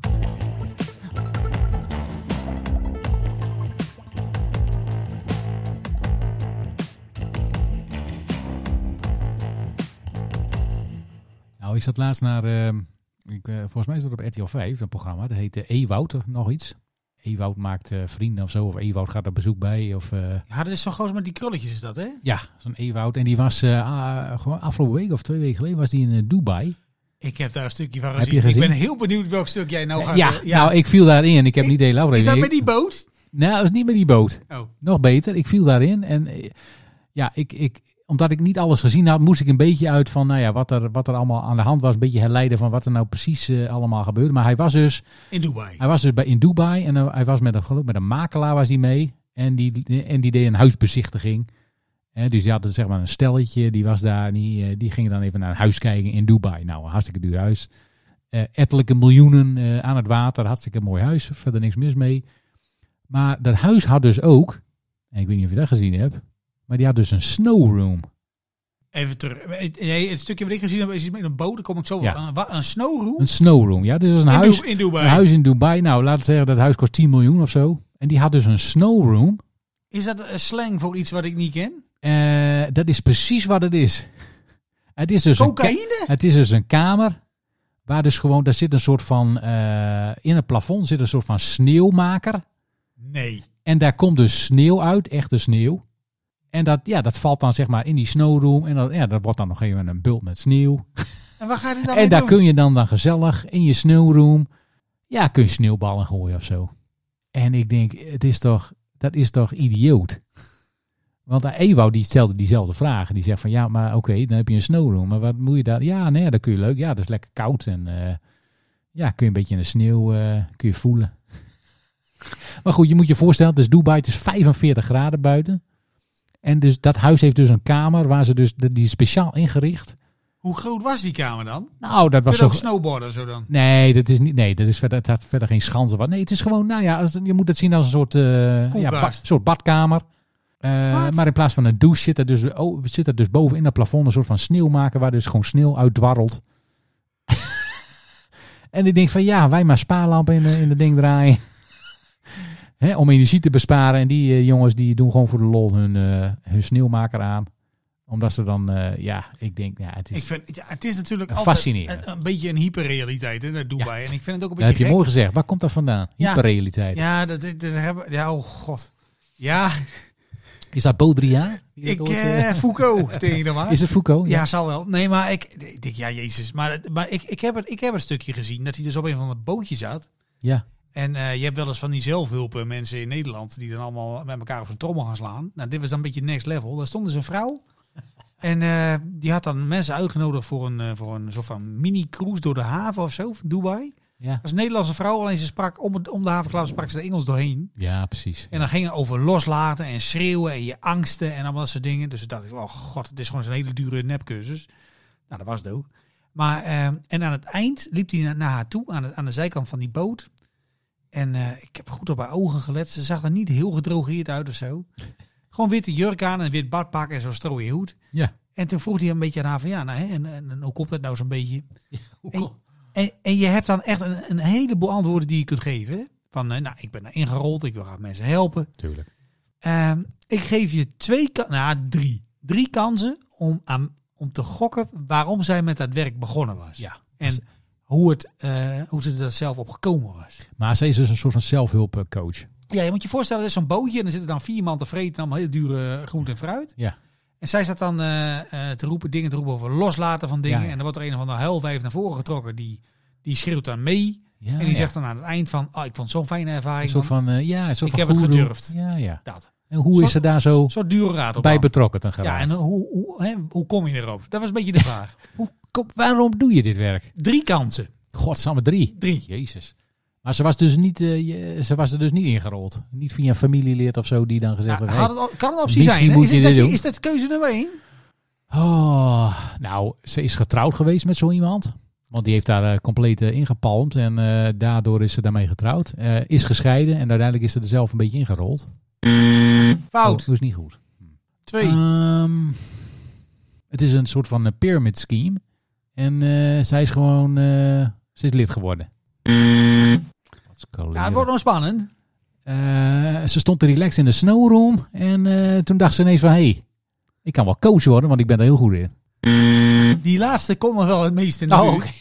Speaker 5: Nou, ik zat laatst naar, ehm, ik, eh, volgens mij is dat op RTL 5, een programma. Dat heet eh, Ewout of nog iets. Ewout maakt eh, vrienden of zo. Of Ewout gaat op bezoek bij. Of, eh,
Speaker 4: Ja, dat is zo'n gozer met die krulletjes is dat, hè?
Speaker 5: ja, zo'n Ewout. En die was eh, ah, gewoon afgelopen week of twee weken geleden was die in eh, Dubai.
Speaker 4: Ik heb daar een stukje van
Speaker 5: Heb
Speaker 4: gezien.
Speaker 5: je gezien?
Speaker 4: Ik ben heel benieuwd welk stuk jij nou gaat...
Speaker 5: ja,
Speaker 4: eh,
Speaker 5: nou, ik viel daarin. Ik heb
Speaker 4: Ik-
Speaker 5: niet de hele
Speaker 4: is
Speaker 5: aflevering.
Speaker 4: dat
Speaker 5: Ik-
Speaker 4: met die boot?
Speaker 5: Nou, dat is niet met die boot.
Speaker 4: Oh.
Speaker 5: Nog beter, ik viel daarin. En eh, ja, ik, ik, omdat ik niet alles gezien had, moest ik een beetje uit van nou ja, wat, er, wat er allemaal aan de hand was. Een beetje herleiden van wat er nou precies eh, allemaal gebeurde. Maar hij was dus,
Speaker 4: In Dubai.
Speaker 5: hij was dus bij, in Dubai en eh, hij was met een, geloof ik met een makelaar was hij mee. En die, en die deed een huisbezichtiging. Hè, dus die hadden zeg maar een stelletje, die was daar. En die, eh, die gingen dan even naar een huis kijken in Dubai. Nou, een hartstikke duur huis. Eh ettelijke miljoenen eh, aan het water. Hartstikke mooi huis. Verder niks mis mee. Maar dat huis had dus ook, en ik weet niet of je dat gezien hebt, maar die had dus een snowroom.
Speaker 4: Even terug. Eh, Nee, het stukje wat ik gezien heb is iets met een boot. Daar kom ik zo
Speaker 5: Ja.
Speaker 4: aan. Wat, Een snowroom?
Speaker 5: Een snowroom. Ja, dus dat is een
Speaker 4: in,
Speaker 5: huis.
Speaker 4: Du- in Dubai.
Speaker 5: Een huis in Dubai. Nou, laten we zeggen dat huis kost 10 miljoen of zo. En die had dus een snowroom.
Speaker 4: Is dat een slang voor iets wat ik niet ken?
Speaker 5: Eh, dat is precies wat het is. Het is dus, een, ka-
Speaker 4: Cocaïne?
Speaker 5: het is dus een kamer. Waar dus gewoon, daar zit een soort van, eh, in het plafond zit een soort van sneeuwmaker.
Speaker 4: Nee.
Speaker 5: En daar komt dus sneeuw uit, echte sneeuw. En dat, ja, dat valt dan zeg maar in die snowroom. En dat, ja, dat wordt dan nog even een bult met sneeuw.
Speaker 4: En waar gaat het dan mee
Speaker 5: en daar
Speaker 4: doen?
Speaker 5: kun je dan, dan gezellig in je snowroom. Ja, kun je sneeuwballen gooien of zo. En ik denk, het is toch, dat is toch idioot. Want eh, Ewout die stelde diezelfde vraag. Die zegt van ja, maar oké, dan heb je een snowroom. Maar wat moet je daar? Ja, nee, dat kun je leuk. Ja, dat is lekker koud. En eh, ja, kun je een beetje in de sneeuw eh, kun je voelen. Maar goed, je moet je voorstellen, het is Dubai, het is 45 graden buiten. En dus dat huis heeft dus een kamer waar ze dus, die is speciaal ingericht.
Speaker 4: Hoe groot was die kamer dan? Kun
Speaker 5: Nou, dat
Speaker 4: je
Speaker 5: was
Speaker 4: ook
Speaker 5: zo,
Speaker 4: snowboarden zo dan?
Speaker 5: Nee, dat is niet. Nee, dat is verder, het had verder geen schans of wat. Nee, het is gewoon, nou ja, als- je moet het zien als een soort, eh, ja,
Speaker 4: Koelkast.
Speaker 5: ba- soort badkamer. Eh,
Speaker 4: Wat?
Speaker 5: maar in plaats van een douche zit er dus, oh, zit er dus boven in dat plafond een soort van sneeuwmaker waar dus gewoon sneeuw uit dwarrelt. en ik denk van ja, wij maar spaarlampen in, de- in dat ding draaien. Hè, om energie te besparen. En die eh, jongens die doen gewoon voor de lol hun, eh, hun sneeuwmaker aan. Omdat ze dan, eh, ja, ik denk, ja, het is,
Speaker 4: Ik vind, ja, het is natuurlijk
Speaker 5: Fascinerend.
Speaker 4: altijd een, een beetje een hyperrealiteit hè, naar Dubai. En ik vind het ook een
Speaker 5: dat
Speaker 4: beetje
Speaker 5: heb je
Speaker 4: gek.
Speaker 5: mooi gezegd. Waar komt dat vandaan?
Speaker 4: Ja.
Speaker 5: Hyperrealiteit.
Speaker 4: Ja, dat, dat, dat hebben Ja, oh god. Ja,
Speaker 5: Is dat Baudrillard? Die dat
Speaker 4: ik...
Speaker 5: ooit, eh,
Speaker 4: eh Foucault tegen de maar.
Speaker 5: is het Foucault?
Speaker 4: Ja, zou wel. Nee, maar ik, ik denk, ja, jezus. Maar, het- maar ik, ik, heb het, ik heb een stukje gezien dat hij dus op een van het bootje zat.
Speaker 5: Ja.
Speaker 4: En eh, je hebt wel eens van die zelfhulpen mensen in Nederland die dan allemaal met elkaar op zijn trommel gaan slaan. Nou, dit was dan een beetje next level. Daar stond dus een vrouw. En eh, die had dan mensen uitgenodigd voor een, eh, voor een soort van mini-cruise door de haven of zo, van Dubai.
Speaker 5: Ja.
Speaker 4: Dat is een Nederlandse vrouw, alleen ze sprak om, het, om de havenklauw sprak ze de Engels doorheen.
Speaker 5: Ja, precies.
Speaker 4: En dan ging het over loslaten en schreeuwen en je angsten en allemaal dat soort dingen. Dus toen dacht ik, oh god, het is gewoon zo'n hele dure nepcursus. Nou, dat was het ook. Maar, eh, en aan het eind liep hij na- naar haar toe, aan de, aan de zijkant van die boot. En eh, ik heb goed op haar ogen gelet. Ze zag er niet heel gedrogeerd uit of zo. Gewoon witte jurk aan en een wit badpak en zo'n strooie hoed.
Speaker 5: Ja.
Speaker 4: En toen vroeg hij een beetje aan haar van, ja, nou, hè, en, en, en hoe komt dat nou zo'n beetje? En, en, en je hebt dan echt een, een heleboel antwoorden die je kunt geven. hè. Van, eh, nou, ik ben daar ingerold, ik wil graag mensen helpen.
Speaker 5: Tuurlijk.
Speaker 4: Ehm, ik geef je twee, ka- nou, drie. Drie kansen om, aan, om te gokken waarom zij met dat werk begonnen was.
Speaker 5: Ja. dus-
Speaker 4: En hoe, het, eh, hoe ze er zelf op gekomen was.
Speaker 5: Maar ze is dus een soort van zelfhulpcoach.
Speaker 4: Ja, je moet je voorstellen, er is zo'n bootje en er zitten dan vier man te vreten, allemaal heel dure eh, groente en fruit.
Speaker 5: Ja.
Speaker 4: En zij staat dan eh, eh, te roepen, dingen te roepen over loslaten van dingen.
Speaker 5: Ja, ja.
Speaker 4: En dan wordt er een of andere huilwijf naar voren getrokken. Die, die schreeuwt dan mee.
Speaker 5: ja
Speaker 4: en die zegt dan aan het eind van, oh, ik vond zo'n fijne
Speaker 5: Een
Speaker 4: ervaring.
Speaker 5: soort
Speaker 4: man."
Speaker 5: van, eh, ja, een soort
Speaker 4: Ik
Speaker 5: van
Speaker 4: heb het
Speaker 5: goeroe.
Speaker 4: gedurfd.
Speaker 5: Ja, ja.
Speaker 4: dat.
Speaker 5: En hoe
Speaker 4: Zo-
Speaker 5: is ze daar zo
Speaker 4: Zo'n dure raad op.
Speaker 5: bij
Speaker 4: af.
Speaker 5: betrokken dan geraakt?
Speaker 4: ja, en hoe, hoe, hè, hoe kom je erop? Dat was een beetje de vraag.
Speaker 5: Hoe, kom- waarom doe je dit werk?
Speaker 4: Drie kansen.
Speaker 5: Godsamme drie.
Speaker 4: Drie.
Speaker 5: Jezus. Maar ze was, dus niet, eh, je- ze was er dus niet ingerold. Niet via een familielid of zo die dan gezegd
Speaker 4: Ja,
Speaker 5: had...
Speaker 4: had
Speaker 5: hey,
Speaker 4: het, al- kan een optie
Speaker 5: misschien
Speaker 4: zijn. hè?
Speaker 5: moet
Speaker 4: Is,
Speaker 5: je
Speaker 4: dit
Speaker 5: dit
Speaker 4: dat,
Speaker 5: doen.
Speaker 4: is dat keuze nummer één?
Speaker 5: Oh, nou, ze is getrouwd geweest met zo iemand. Want die heeft daar eh, compleet eh, ingepalmd en eh, daardoor is ze daarmee getrouwd. Eh, is gescheiden en uiteindelijk is ze er zelf een beetje ingerold.
Speaker 4: Fout.
Speaker 5: Dat is niet goed.
Speaker 4: Twee.
Speaker 5: Ehm, het is een soort van eh, pyramid scheme. En eh, zij is gewoon, eh, ze is lid geworden. Wat scholeren.
Speaker 4: ja, het wordt nog spannend.
Speaker 5: Eh, ze stond te relaxen in de snowroom. En eh, toen dacht ze ineens van, hé, hey, ik kan wel coach worden, want ik ben er heel goed in.
Speaker 4: Die laatste komt nog wel het meest in de
Speaker 5: Oh,
Speaker 4: buurt.
Speaker 5: oké.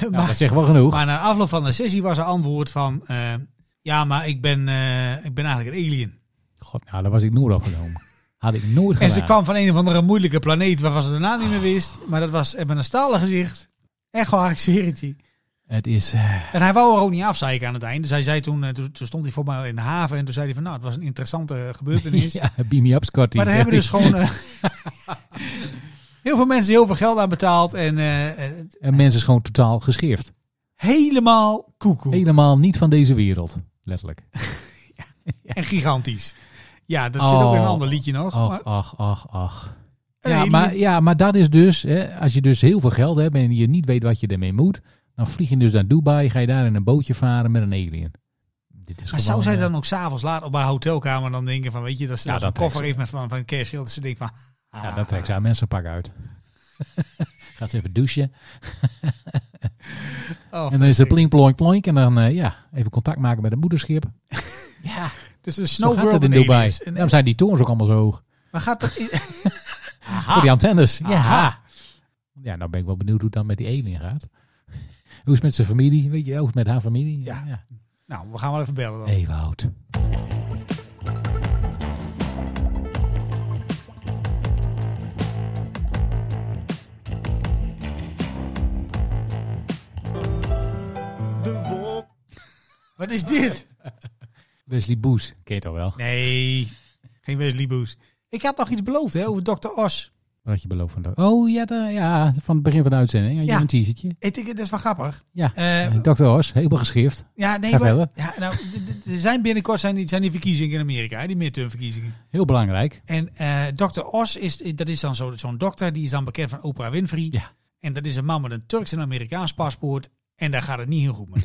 Speaker 4: maar,
Speaker 5: Nou, dat zegt wel genoeg.
Speaker 4: maar na afloop van de sessie was er antwoord van... eh, ja, maar ik ben, eh, ik ben eigenlijk een alien.
Speaker 5: God, nou, daar was ik nooit opgenomen. Had ik nooit gedaan.
Speaker 4: En ze kwam van een of andere moeilijke planeet waarvan ze de naam niet meer wist. Maar dat was met een stalen gezicht. Echt waar, ik zweer het je.
Speaker 5: Het is... eh,
Speaker 4: En hij wou er ook niet afzeiken aan het einde. Dus hij zei toen, eh, toen, toen stond hij voor mij in de haven. En toen zei hij van, nou, het was een interessante gebeurtenis.
Speaker 5: ja, beam me up, Scotty.
Speaker 4: maar daar hebben
Speaker 5: Echt,
Speaker 4: dus gewoon... eh, heel veel mensen die heel veel geld aan betaald. En eh, eh,
Speaker 5: En mensen is gewoon totaal gescheerd.
Speaker 4: helemaal koekoe.
Speaker 5: Helemaal niet van deze wereld. Letterlijk.
Speaker 4: En gigantisch. Ja, dat zit ook in een
Speaker 5: Oh.
Speaker 4: ander liedje nog.
Speaker 5: Ach,
Speaker 4: maar,
Speaker 5: ach, ach, ach.
Speaker 4: een
Speaker 5: Ja
Speaker 4: hele-
Speaker 5: maar, ja, maar dat is dus... Hè, als je dus heel veel geld hebt en je niet weet wat je ermee moet... dan vlieg je dus naar Dubai, ga je daar in een bootje varen met een alien. Dit is
Speaker 4: maar zou
Speaker 5: gewoon,
Speaker 4: zij
Speaker 5: eh,
Speaker 4: dan ook s'avonds laat op haar hotelkamer dan denken van, weet je, dat ze
Speaker 5: Ja,
Speaker 4: dan
Speaker 5: dat
Speaker 4: een
Speaker 5: trekt
Speaker 4: koffer
Speaker 5: ze.
Speaker 4: heeft met van, van kerstgeld. Dat ze denkt van...
Speaker 5: Ja, dan trekt ze haar mensenpak uit. Gaat ze even douchen.
Speaker 4: oh,
Speaker 5: en dan is er plink, plonk, plonk. En dan eh, ja, even contact maken met het moederschip. ja,
Speaker 4: Dus
Speaker 5: zo
Speaker 4: de
Speaker 5: gaat
Speaker 4: snowboard
Speaker 5: het
Speaker 4: in
Speaker 5: in Dubai.
Speaker 4: Aliens. En-
Speaker 5: Daarom zijn die torens ook allemaal zo hoog.
Speaker 4: maar gaat dat...
Speaker 5: Voor die antennes. Ja.
Speaker 4: Aha.
Speaker 5: ja, nou ben ik wel benieuwd hoe het dan met die alien gaat. hoe is het met zijn familie? Weet je, hoe is het met haar familie?
Speaker 4: Ja. nou, we gaan wel even bellen dan.
Speaker 5: Hey, Wout.
Speaker 6: de wolk.
Speaker 4: Wat is dit?
Speaker 5: Wesley Boes. Ken je toch wel?
Speaker 4: Nee, geen Wesley Boes. Ik had nog iets beloofd hè, over Dr. Os.
Speaker 5: Wat had je beloofd van... de- Oh ja, da- ja, van het begin van de uitzending. Had je
Speaker 4: Ja.
Speaker 5: een teasertje?
Speaker 4: Ik denk, dat is wel grappig.
Speaker 5: Ja.
Speaker 4: Eh,
Speaker 5: Dr. Os, helemaal geschift.
Speaker 4: ja, nee,
Speaker 5: Ga
Speaker 4: maar-
Speaker 5: verder.
Speaker 4: ja, nou, d- d- er zijn binnenkort zijn die, zijn die verkiezingen in Amerika, hè, die midtermverkiezingen.
Speaker 5: Heel belangrijk.
Speaker 4: En eh Dr. Os, is, dat is dan zo- zo'n dokter, die is dan bekend van Oprah Winfrey.
Speaker 5: Ja.
Speaker 4: En dat is een man met een Turks en Amerikaans paspoort. En daar gaat het niet heel goed mee.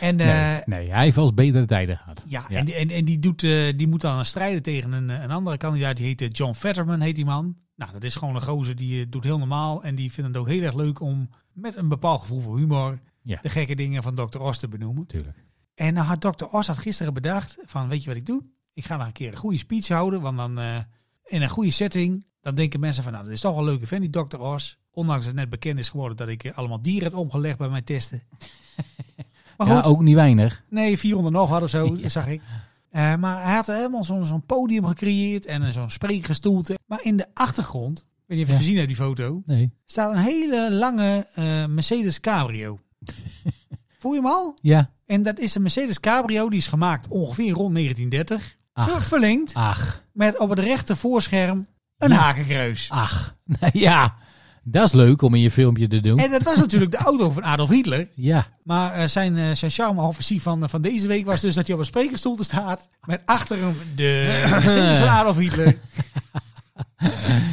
Speaker 4: En, eh,
Speaker 5: nee, nee, hij heeft wel eens betere tijden gehad.
Speaker 4: Ja,
Speaker 5: Ja.
Speaker 4: En, die- en, en die, doet, eh, die moet dan gaan strijden tegen een, eh, een andere kandidaat. Die heet eh, John Fetterman, heet die man. Nou, dat is gewoon een gozer die eh, doet heel normaal. En die vindt het ook heel erg leuk om met een bepaald gevoel voor humor...
Speaker 5: Ja.
Speaker 4: de gekke dingen van Dr. Os te benoemen.
Speaker 5: Tuurlijk.
Speaker 4: En nou had Dr. Os had gisteren bedacht van, weet je wat ik doe? Ik ga nog een keer een goede speech houden. Want dan eh, in een goede setting, dan denken mensen van... nou, dat is toch wel een leuke vent, die Dr. Os. Ondanks dat het net bekend is geworden dat ik eh, allemaal dieren heb omgelegd bij mijn testen. Maar
Speaker 5: Ja, ook niet weinig.
Speaker 4: Nee, 400 nog had of zo, zag ik. Eh, maar hij had er helemaal zo'n zo'n podium gecreëerd en eh, zo'n spreekgestoelte. Maar in de achtergrond, ik weet niet of je
Speaker 5: Ja.
Speaker 4: gezien hebt die foto,
Speaker 5: Nee.
Speaker 4: staat een hele lange eh, Mercedes Cabrio. Voel je hem al?
Speaker 5: Ja.
Speaker 4: En dat is een Mercedes Cabrio, die is gemaakt ongeveer rond 1930. Ver-
Speaker 5: Ach.
Speaker 4: Verlengd
Speaker 5: Ach.
Speaker 4: met op het rechte voorscherm een hakenkruis.
Speaker 5: Ach. Nou ja. Dat is leuk om in je filmpje te doen.
Speaker 4: En dat was natuurlijk de auto van Adolf Hitler.
Speaker 5: Ja.
Speaker 4: Maar eh, zijn, eh, zijn charme-offensief van, eh, van deze week was dus dat hij op een sprekersstoel staat. Met achter hem de Mercedes van Adolf Hitler.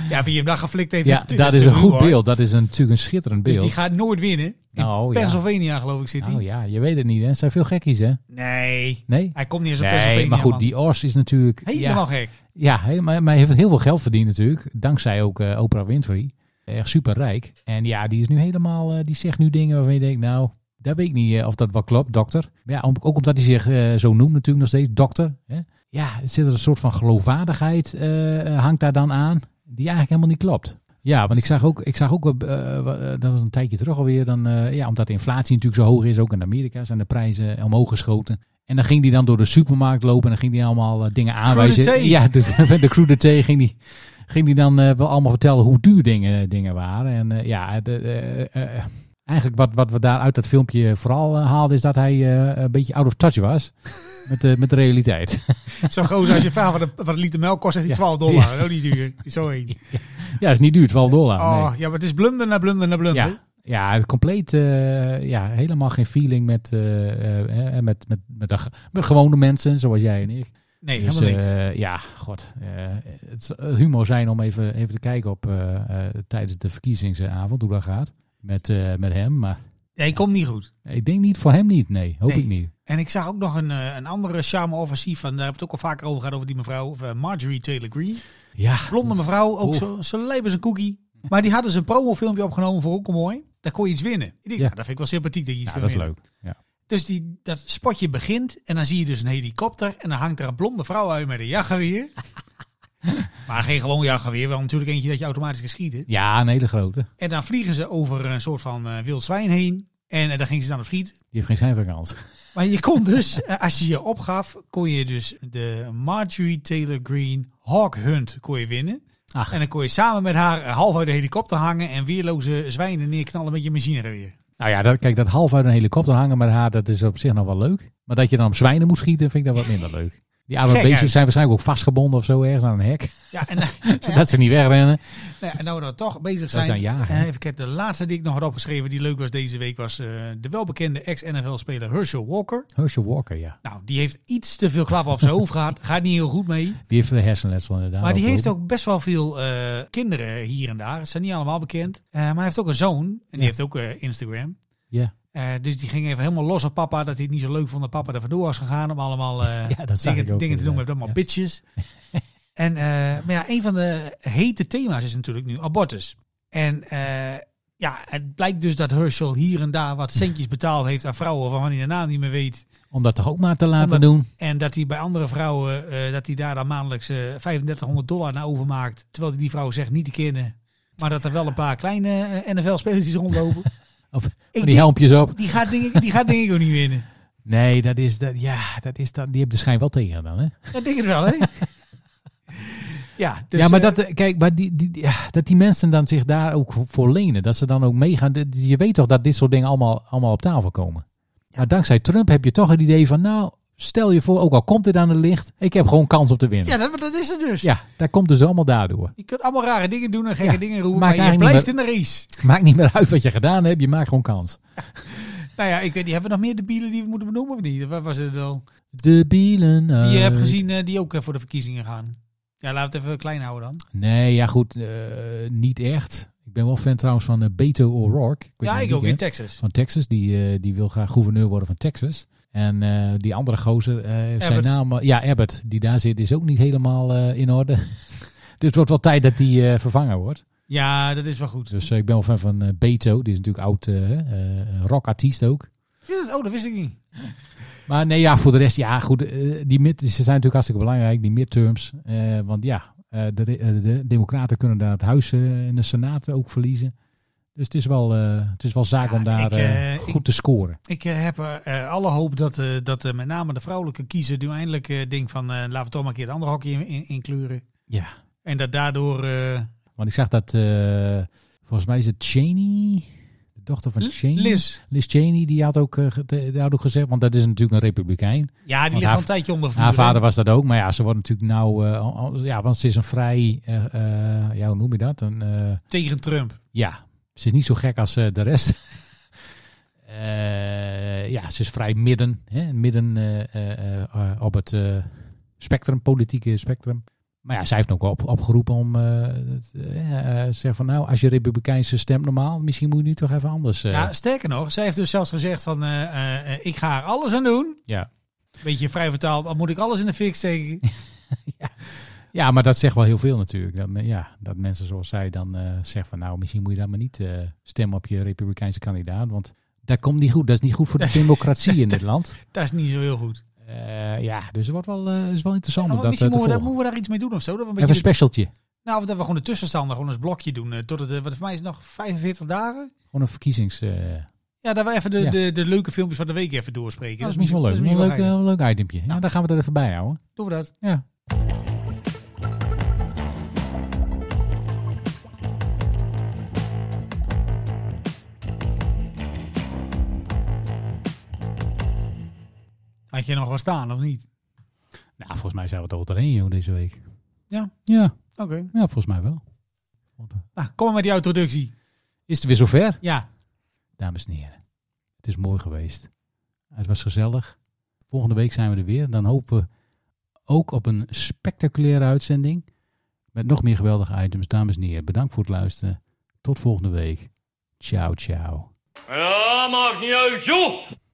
Speaker 4: Ja, wie hem daar geflikt heeft.
Speaker 5: Ja,
Speaker 4: het- het
Speaker 5: dat is
Speaker 4: de
Speaker 5: een goed
Speaker 4: ruw, hoor.
Speaker 5: beeld. Dat is een- natuurlijk een schitterend
Speaker 4: Dus
Speaker 5: beeld.
Speaker 4: die gaat nooit winnen. In
Speaker 5: Nou, ja.
Speaker 4: Pennsylvania, geloof ik, zit hij.
Speaker 5: Oh ja, je weet het niet. Hè? Het zijn veel gekkies, hè?
Speaker 4: Nee,
Speaker 5: Nee?
Speaker 4: hij komt niet eens op
Speaker 5: Nee,
Speaker 4: Pennsylvania.
Speaker 5: maar goed,
Speaker 4: man.
Speaker 5: die Ors is natuurlijk...
Speaker 4: Helemaal
Speaker 5: ja,
Speaker 4: gek.
Speaker 5: Ja, he- maar, maar hij heeft heel veel geld verdiend natuurlijk. Dankzij ook eh, Oprah Winfrey. Echt superrijk. En ja, die is nu helemaal... eh, die zegt nu dingen waarvan je denkt, nou... Daar weet ik niet eh, of dat wel klopt, dokter. Maar Ja, om- ook omdat hij zich eh, zo noemt natuurlijk nog steeds, dokter. Hè? Ja, zit er een soort van geloofwaardigheid eh, hangt daar dan aan. Die eigenlijk helemaal niet klopt. Ja, want ik zag ook, ik zag ook eh, wa- eh, dat was een tijdje terug alweer, dan, eh, ja, omdat de inflatie natuurlijk zo hoog is, ook in Amerika zijn de prijzen omhoog geschoten. En dan ging die dan door de supermarkt lopen en dan ging die allemaal eh, dingen aanwijzen.
Speaker 4: thee.
Speaker 5: Ja, de, de crude thee ging die, ging die dan eh, wel allemaal vertellen hoe duur dingen, dingen waren. En eh, ja, de, eh, eh, eigenlijk wat, wat we daar uit dat filmpje vooral eh, haalden is dat hij eh, een beetje out of touch was met, de met de realiteit.
Speaker 4: Zo groot als je vraagt wat een, wat een liter melk kost, zegt hij
Speaker 5: Ja.
Speaker 4: 12 dollar. Oh, niet duur. Zo heen.
Speaker 5: ja, dat is niet duur, 12 dollar. nee.
Speaker 4: Oh, ja, maar het is blunder na blunder na blunder.
Speaker 5: Ja, ja het compleet eh, ja, helemaal geen feeling met, eh, eh, eh, met, met, met, de, ge- met gewone mensen zoals jij en ik.
Speaker 4: Nee,
Speaker 5: Dus,
Speaker 4: helemaal niks.
Speaker 5: eh, ja, god. eh, het zou humor zijn om even, even te kijken op eh, eh, tijdens de verkiezingsavond hoe dat gaat met, eh, met hem. Maar
Speaker 4: Nee, komt niet goed.
Speaker 5: ik denk niet voor hem niet. Nee, hoop
Speaker 4: Nee.
Speaker 5: ik niet.
Speaker 4: En ik zag ook nog een, eh, een andere charme offensief. En daar hebben we het ook al vaker over gehad over die mevrouw. Of, eh, Marjorie Taylor Greene.
Speaker 5: Ja,
Speaker 4: Blonde mevrouw, ook
Speaker 5: Oeh.
Speaker 4: zo, zo leep als een cookie. Maar die hadden ze een promofilmpje opgenomen voor Hoekom Mooi. Daar kon je iets winnen. Ik denk,
Speaker 5: Ja.
Speaker 4: nou, dat vind ik wel sympathiek dat je iets
Speaker 5: ja
Speaker 4: kan
Speaker 5: nou, dat is
Speaker 4: winnen.
Speaker 5: leuk. Ja.
Speaker 4: Dus die, dat spotje begint en dan zie je dus een helikopter. En dan hangt er een blonde vrouw uit met een jachtgeweer. maar geen gewoon jachtgeweer, wel natuurlijk eentje dat je automatisch kan schieten.
Speaker 5: ja, een hele grote.
Speaker 4: En dan vliegen ze over een soort van eh, wild zwijn heen. En eh, daar gingen ze dan op schieten.
Speaker 5: Die heeft geen schijnverkant.
Speaker 4: Maar je kon dus, eh, als je je opgaf, kon je dus de Marjorie Taylor Greene Hawk Hunt kon je winnen.
Speaker 5: Ach,
Speaker 4: En dan kon je samen met haar eh, half uit de helikopter hangen en weerloze zwijnen neerknallen met je machinegeweer.
Speaker 5: nou ja, dat, kijk, dat half uit een helikopter hangen met haar, dat is op zich nog wel leuk. Maar dat je dan op zwijnen moet schieten, vind ik dat wat minder leuk. Die oude
Speaker 4: Gek
Speaker 5: beestjes
Speaker 4: uit.
Speaker 5: zijn waarschijnlijk ook vastgebonden of zo ergens aan een hek.
Speaker 4: Ja, en, eh,
Speaker 5: Zodat ze niet wegrennen.
Speaker 4: nou ja, en nou we dan toch bezig
Speaker 5: Dat
Speaker 4: zijn.
Speaker 5: is aan jagen, hè?
Speaker 4: eh, even kijken, de laatste die ik nog had opgeschreven die leuk was deze week was eh, de welbekende ex-NFL-speler Herschel Walker.
Speaker 5: Herschel Walker, ja.
Speaker 4: Nou, die heeft iets te veel klappen op zijn hoofd gehad. Gaat niet heel goed mee.
Speaker 5: Die heeft de hersenletsel inderdaad.
Speaker 4: Maar die heeft
Speaker 5: opgelopen.
Speaker 4: Nou, ook best wel veel eh, kinderen hier en daar. Ze zijn niet allemaal bekend. Eh, maar hij heeft ook een zoon. En die
Speaker 5: Ja.
Speaker 4: heeft ook eh, Instagram.
Speaker 5: Ja.
Speaker 4: Eh, dus die ging even helemaal los op papa. Dat hij het niet zo leuk vond dat papa er vandoor was gegaan. Om allemaal eh,
Speaker 5: Ja, dat zag
Speaker 4: dingen,
Speaker 5: ik ook
Speaker 4: dingen te doen
Speaker 5: inderdaad.
Speaker 4: met allemaal
Speaker 5: Ja.
Speaker 4: bitches. en, eh, maar ja, een van de hete thema's is natuurlijk nu abortus. En eh, ja, het blijkt dus dat Herschel hier en daar wat centjes betaald heeft aan vrouwen waarvan hij de naam niet meer weet.
Speaker 5: Om dat toch ook maar te laten
Speaker 4: Omdat-
Speaker 5: doen.
Speaker 4: En dat hij bij andere vrouwen, eh, dat hij daar dan maandelijks eh 3500 dollar naar overmaakt. Terwijl hij die vrouw zegt niet te kennen. Maar dat er wel een paar kleine eh, NFL-spelers rondlopen.
Speaker 5: Of van die
Speaker 4: denk-
Speaker 5: helmpjes op.
Speaker 4: Die gaat denk ik, die gaat denk ik ook niet winnen.
Speaker 5: Nee, dat is dat. Ja, dat is dat. Die hebben de schijn wel tegen dan, hè?
Speaker 4: Dat denk ik wel, hè? Ja, dus,
Speaker 5: ja, maar
Speaker 4: eh,
Speaker 5: dat, eh, kijk, maar die, die, die- ja, dat die mensen dan zich daar ook voor lenen. Dat ze dan ook meegaan. Dit- Je weet toch dat dit soort dingen allemaal, allemaal op tafel komen. Maar dankzij Trump heb je toch het idee van, nou, stel je voor, ook al komt dit aan het licht, ik heb gewoon kans op te winnen.
Speaker 4: ja
Speaker 5: Ja,
Speaker 4: dat, dat is het dus.
Speaker 5: dat komt dus allemaal daardoor.
Speaker 4: Je kunt allemaal rare dingen doen en gekke
Speaker 5: Ja,
Speaker 4: dingen roepen.
Speaker 5: maakt
Speaker 4: Maar je
Speaker 5: eigenlijk
Speaker 4: blijft
Speaker 5: niet
Speaker 4: in de race.
Speaker 5: Maakt niet meer uit wat je gedaan hebt, je maakt gewoon kans.
Speaker 4: Nou ja, ik weet niet. Hebben we nog meer debielen die we moeten benoemen of niet? Wat was het al?
Speaker 5: De bielen.
Speaker 4: Die je
Speaker 5: uit.
Speaker 4: hebt gezien, eh, die ook eh, voor de verkiezingen gaan. Ja, laten we het even klein houden dan.
Speaker 5: Nee, ja goed, eh, niet echt. Ik ben wel fan trouwens van eh, Beto O'Rourke. Ik weet
Speaker 4: ja,
Speaker 5: nou
Speaker 4: ik
Speaker 5: wie
Speaker 4: ook
Speaker 5: ken.
Speaker 4: in Texas.
Speaker 5: Van Texas, die, eh, die wil graag gouverneur worden van Texas. En eh, die andere gozer, eh, zijn
Speaker 4: Abbott.
Speaker 5: naam... eh, Ja, Abbott, die daar zit, is ook niet helemaal eh, in orde. dus het wordt wel tijd dat die eh, vervangen wordt.
Speaker 4: Ja, dat is wel goed.
Speaker 5: Dus eh, ik ben wel fan van eh, Beto, die is natuurlijk oud eh eh, rockartiest ook.
Speaker 4: Ja, dat- oh, dat wist ik niet.
Speaker 5: Maar nee, ja, voor de rest, ja, goed. eh, die mid, ze zijn natuurlijk hartstikke belangrijk, die midterms. Eh, want ja, eh, de, de, de Democraten kunnen daar het huis eh, en de Senaat ook verliezen. Dus het is wel, eh, het is wel zaak
Speaker 4: Ja,
Speaker 5: om daar
Speaker 4: ik, eh,
Speaker 5: eh,
Speaker 4: ik-
Speaker 5: goed te scoren.
Speaker 4: Ik eh, heb eh, eh, alle hoop dat, eh, dat eh, met name de vrouwelijke kiezer nu eindelijk eh, denkt van eh, laten we toch maar een keer het andere hokje in, in, in kleuren.
Speaker 5: Ja,
Speaker 4: En dat daardoor... eh,
Speaker 5: want ik zag dat, eh, volgens mij is het Cheney, de dochter van
Speaker 4: L-
Speaker 5: Cheney.
Speaker 4: Liz.
Speaker 5: Liz Cheney, die had ook, eh, ge- de- die had ook gezegd, want dat is natuurlijk een republikein.
Speaker 4: Ja, die
Speaker 5: Want
Speaker 4: ligt
Speaker 5: Oh, haar-
Speaker 4: al een tijdje onder vuur.
Speaker 5: Haar
Speaker 4: hè?
Speaker 5: vader was dat ook, maar ja, ze wordt natuurlijk nou, eh, al- al- ja, want ze is een vrij, eh, eh, ja, hoe noem je dat? Een... eh,
Speaker 4: Tegen Trump.
Speaker 5: Ja, ze is niet zo gek als eh, de rest. Eh, ja, ze is vrij midden. Hè? Midden eh, eh, eh, eh, op het eh, spectrum, politieke spectrum. Maar ja, zij heeft ook op, opgeroepen om eh het, eh, eh, zeg van nou, als je republikeinse stemt normaal, misschien moet je nu toch even anders. eh,
Speaker 4: Ja, sterker nog, zij heeft dus zelfs gezegd van eh, eh, eh, ik ga er alles aan doen.
Speaker 5: ja.
Speaker 4: Beetje vrij vertaald, dan moet ik alles in de fik steken.
Speaker 5: ja, maar dat zegt wel heel veel natuurlijk. Dat, men- ja, dat mensen zoals zij dan eh zeggen van nou, misschien moet je daar maar niet eh, stemmen op je republikeinse kandidaat. Want dat komt niet goed. Dat is niet goed voor de democratie in dit land.
Speaker 4: Dat is niet zo heel goed.
Speaker 5: Eh, ja, dus het wordt wel, eh, is wel interessant
Speaker 4: Ja,
Speaker 5: om
Speaker 4: maar
Speaker 5: dat eh,
Speaker 4: misschien
Speaker 5: te
Speaker 4: moeten we, daar,
Speaker 5: volgen.
Speaker 4: moeten we daar iets mee doen of zo. Dat we een
Speaker 5: Even een
Speaker 4: beetje de-
Speaker 5: specialtje.
Speaker 4: nou, of dat we gewoon de tussenstander gewoon als blokje doen. eh, tot het, eh, wat voor mij is het nog 45 dagen.
Speaker 5: Gewoon een verkiezings... eh,
Speaker 4: Ja, dat we even de,
Speaker 5: Ja.
Speaker 4: de, de leuke filmpjes van de week even doorspreken.
Speaker 5: dat is misschien wel leuk.
Speaker 4: dat is
Speaker 5: Een leuk,
Speaker 4: misschien wel
Speaker 5: eh, leuk itempje.
Speaker 4: Nou.
Speaker 5: Ja, dan gaan we dat even bij houden.
Speaker 4: geinig. Doen we dat.
Speaker 5: Ja.
Speaker 4: Had je nog wel staan of niet?
Speaker 5: Nou, volgens mij zijn we het al doorheen, joh, deze week.
Speaker 4: Ja.
Speaker 5: Ja,
Speaker 4: Oké.
Speaker 5: ja volgens mij wel.
Speaker 4: Nou, kom maar met die introductie.
Speaker 5: Is het weer zover?
Speaker 4: Ja.
Speaker 5: Dames en heren, het is mooi geweest. Het was gezellig. Volgende week zijn we er weer. Dan hopen we ook op een spectaculaire uitzending. Met nog meer geweldige items. Dames en heren, bedankt voor het luisteren. Tot volgende week. Ciao, ciao.
Speaker 3: Ja, maakt niet uit, joh.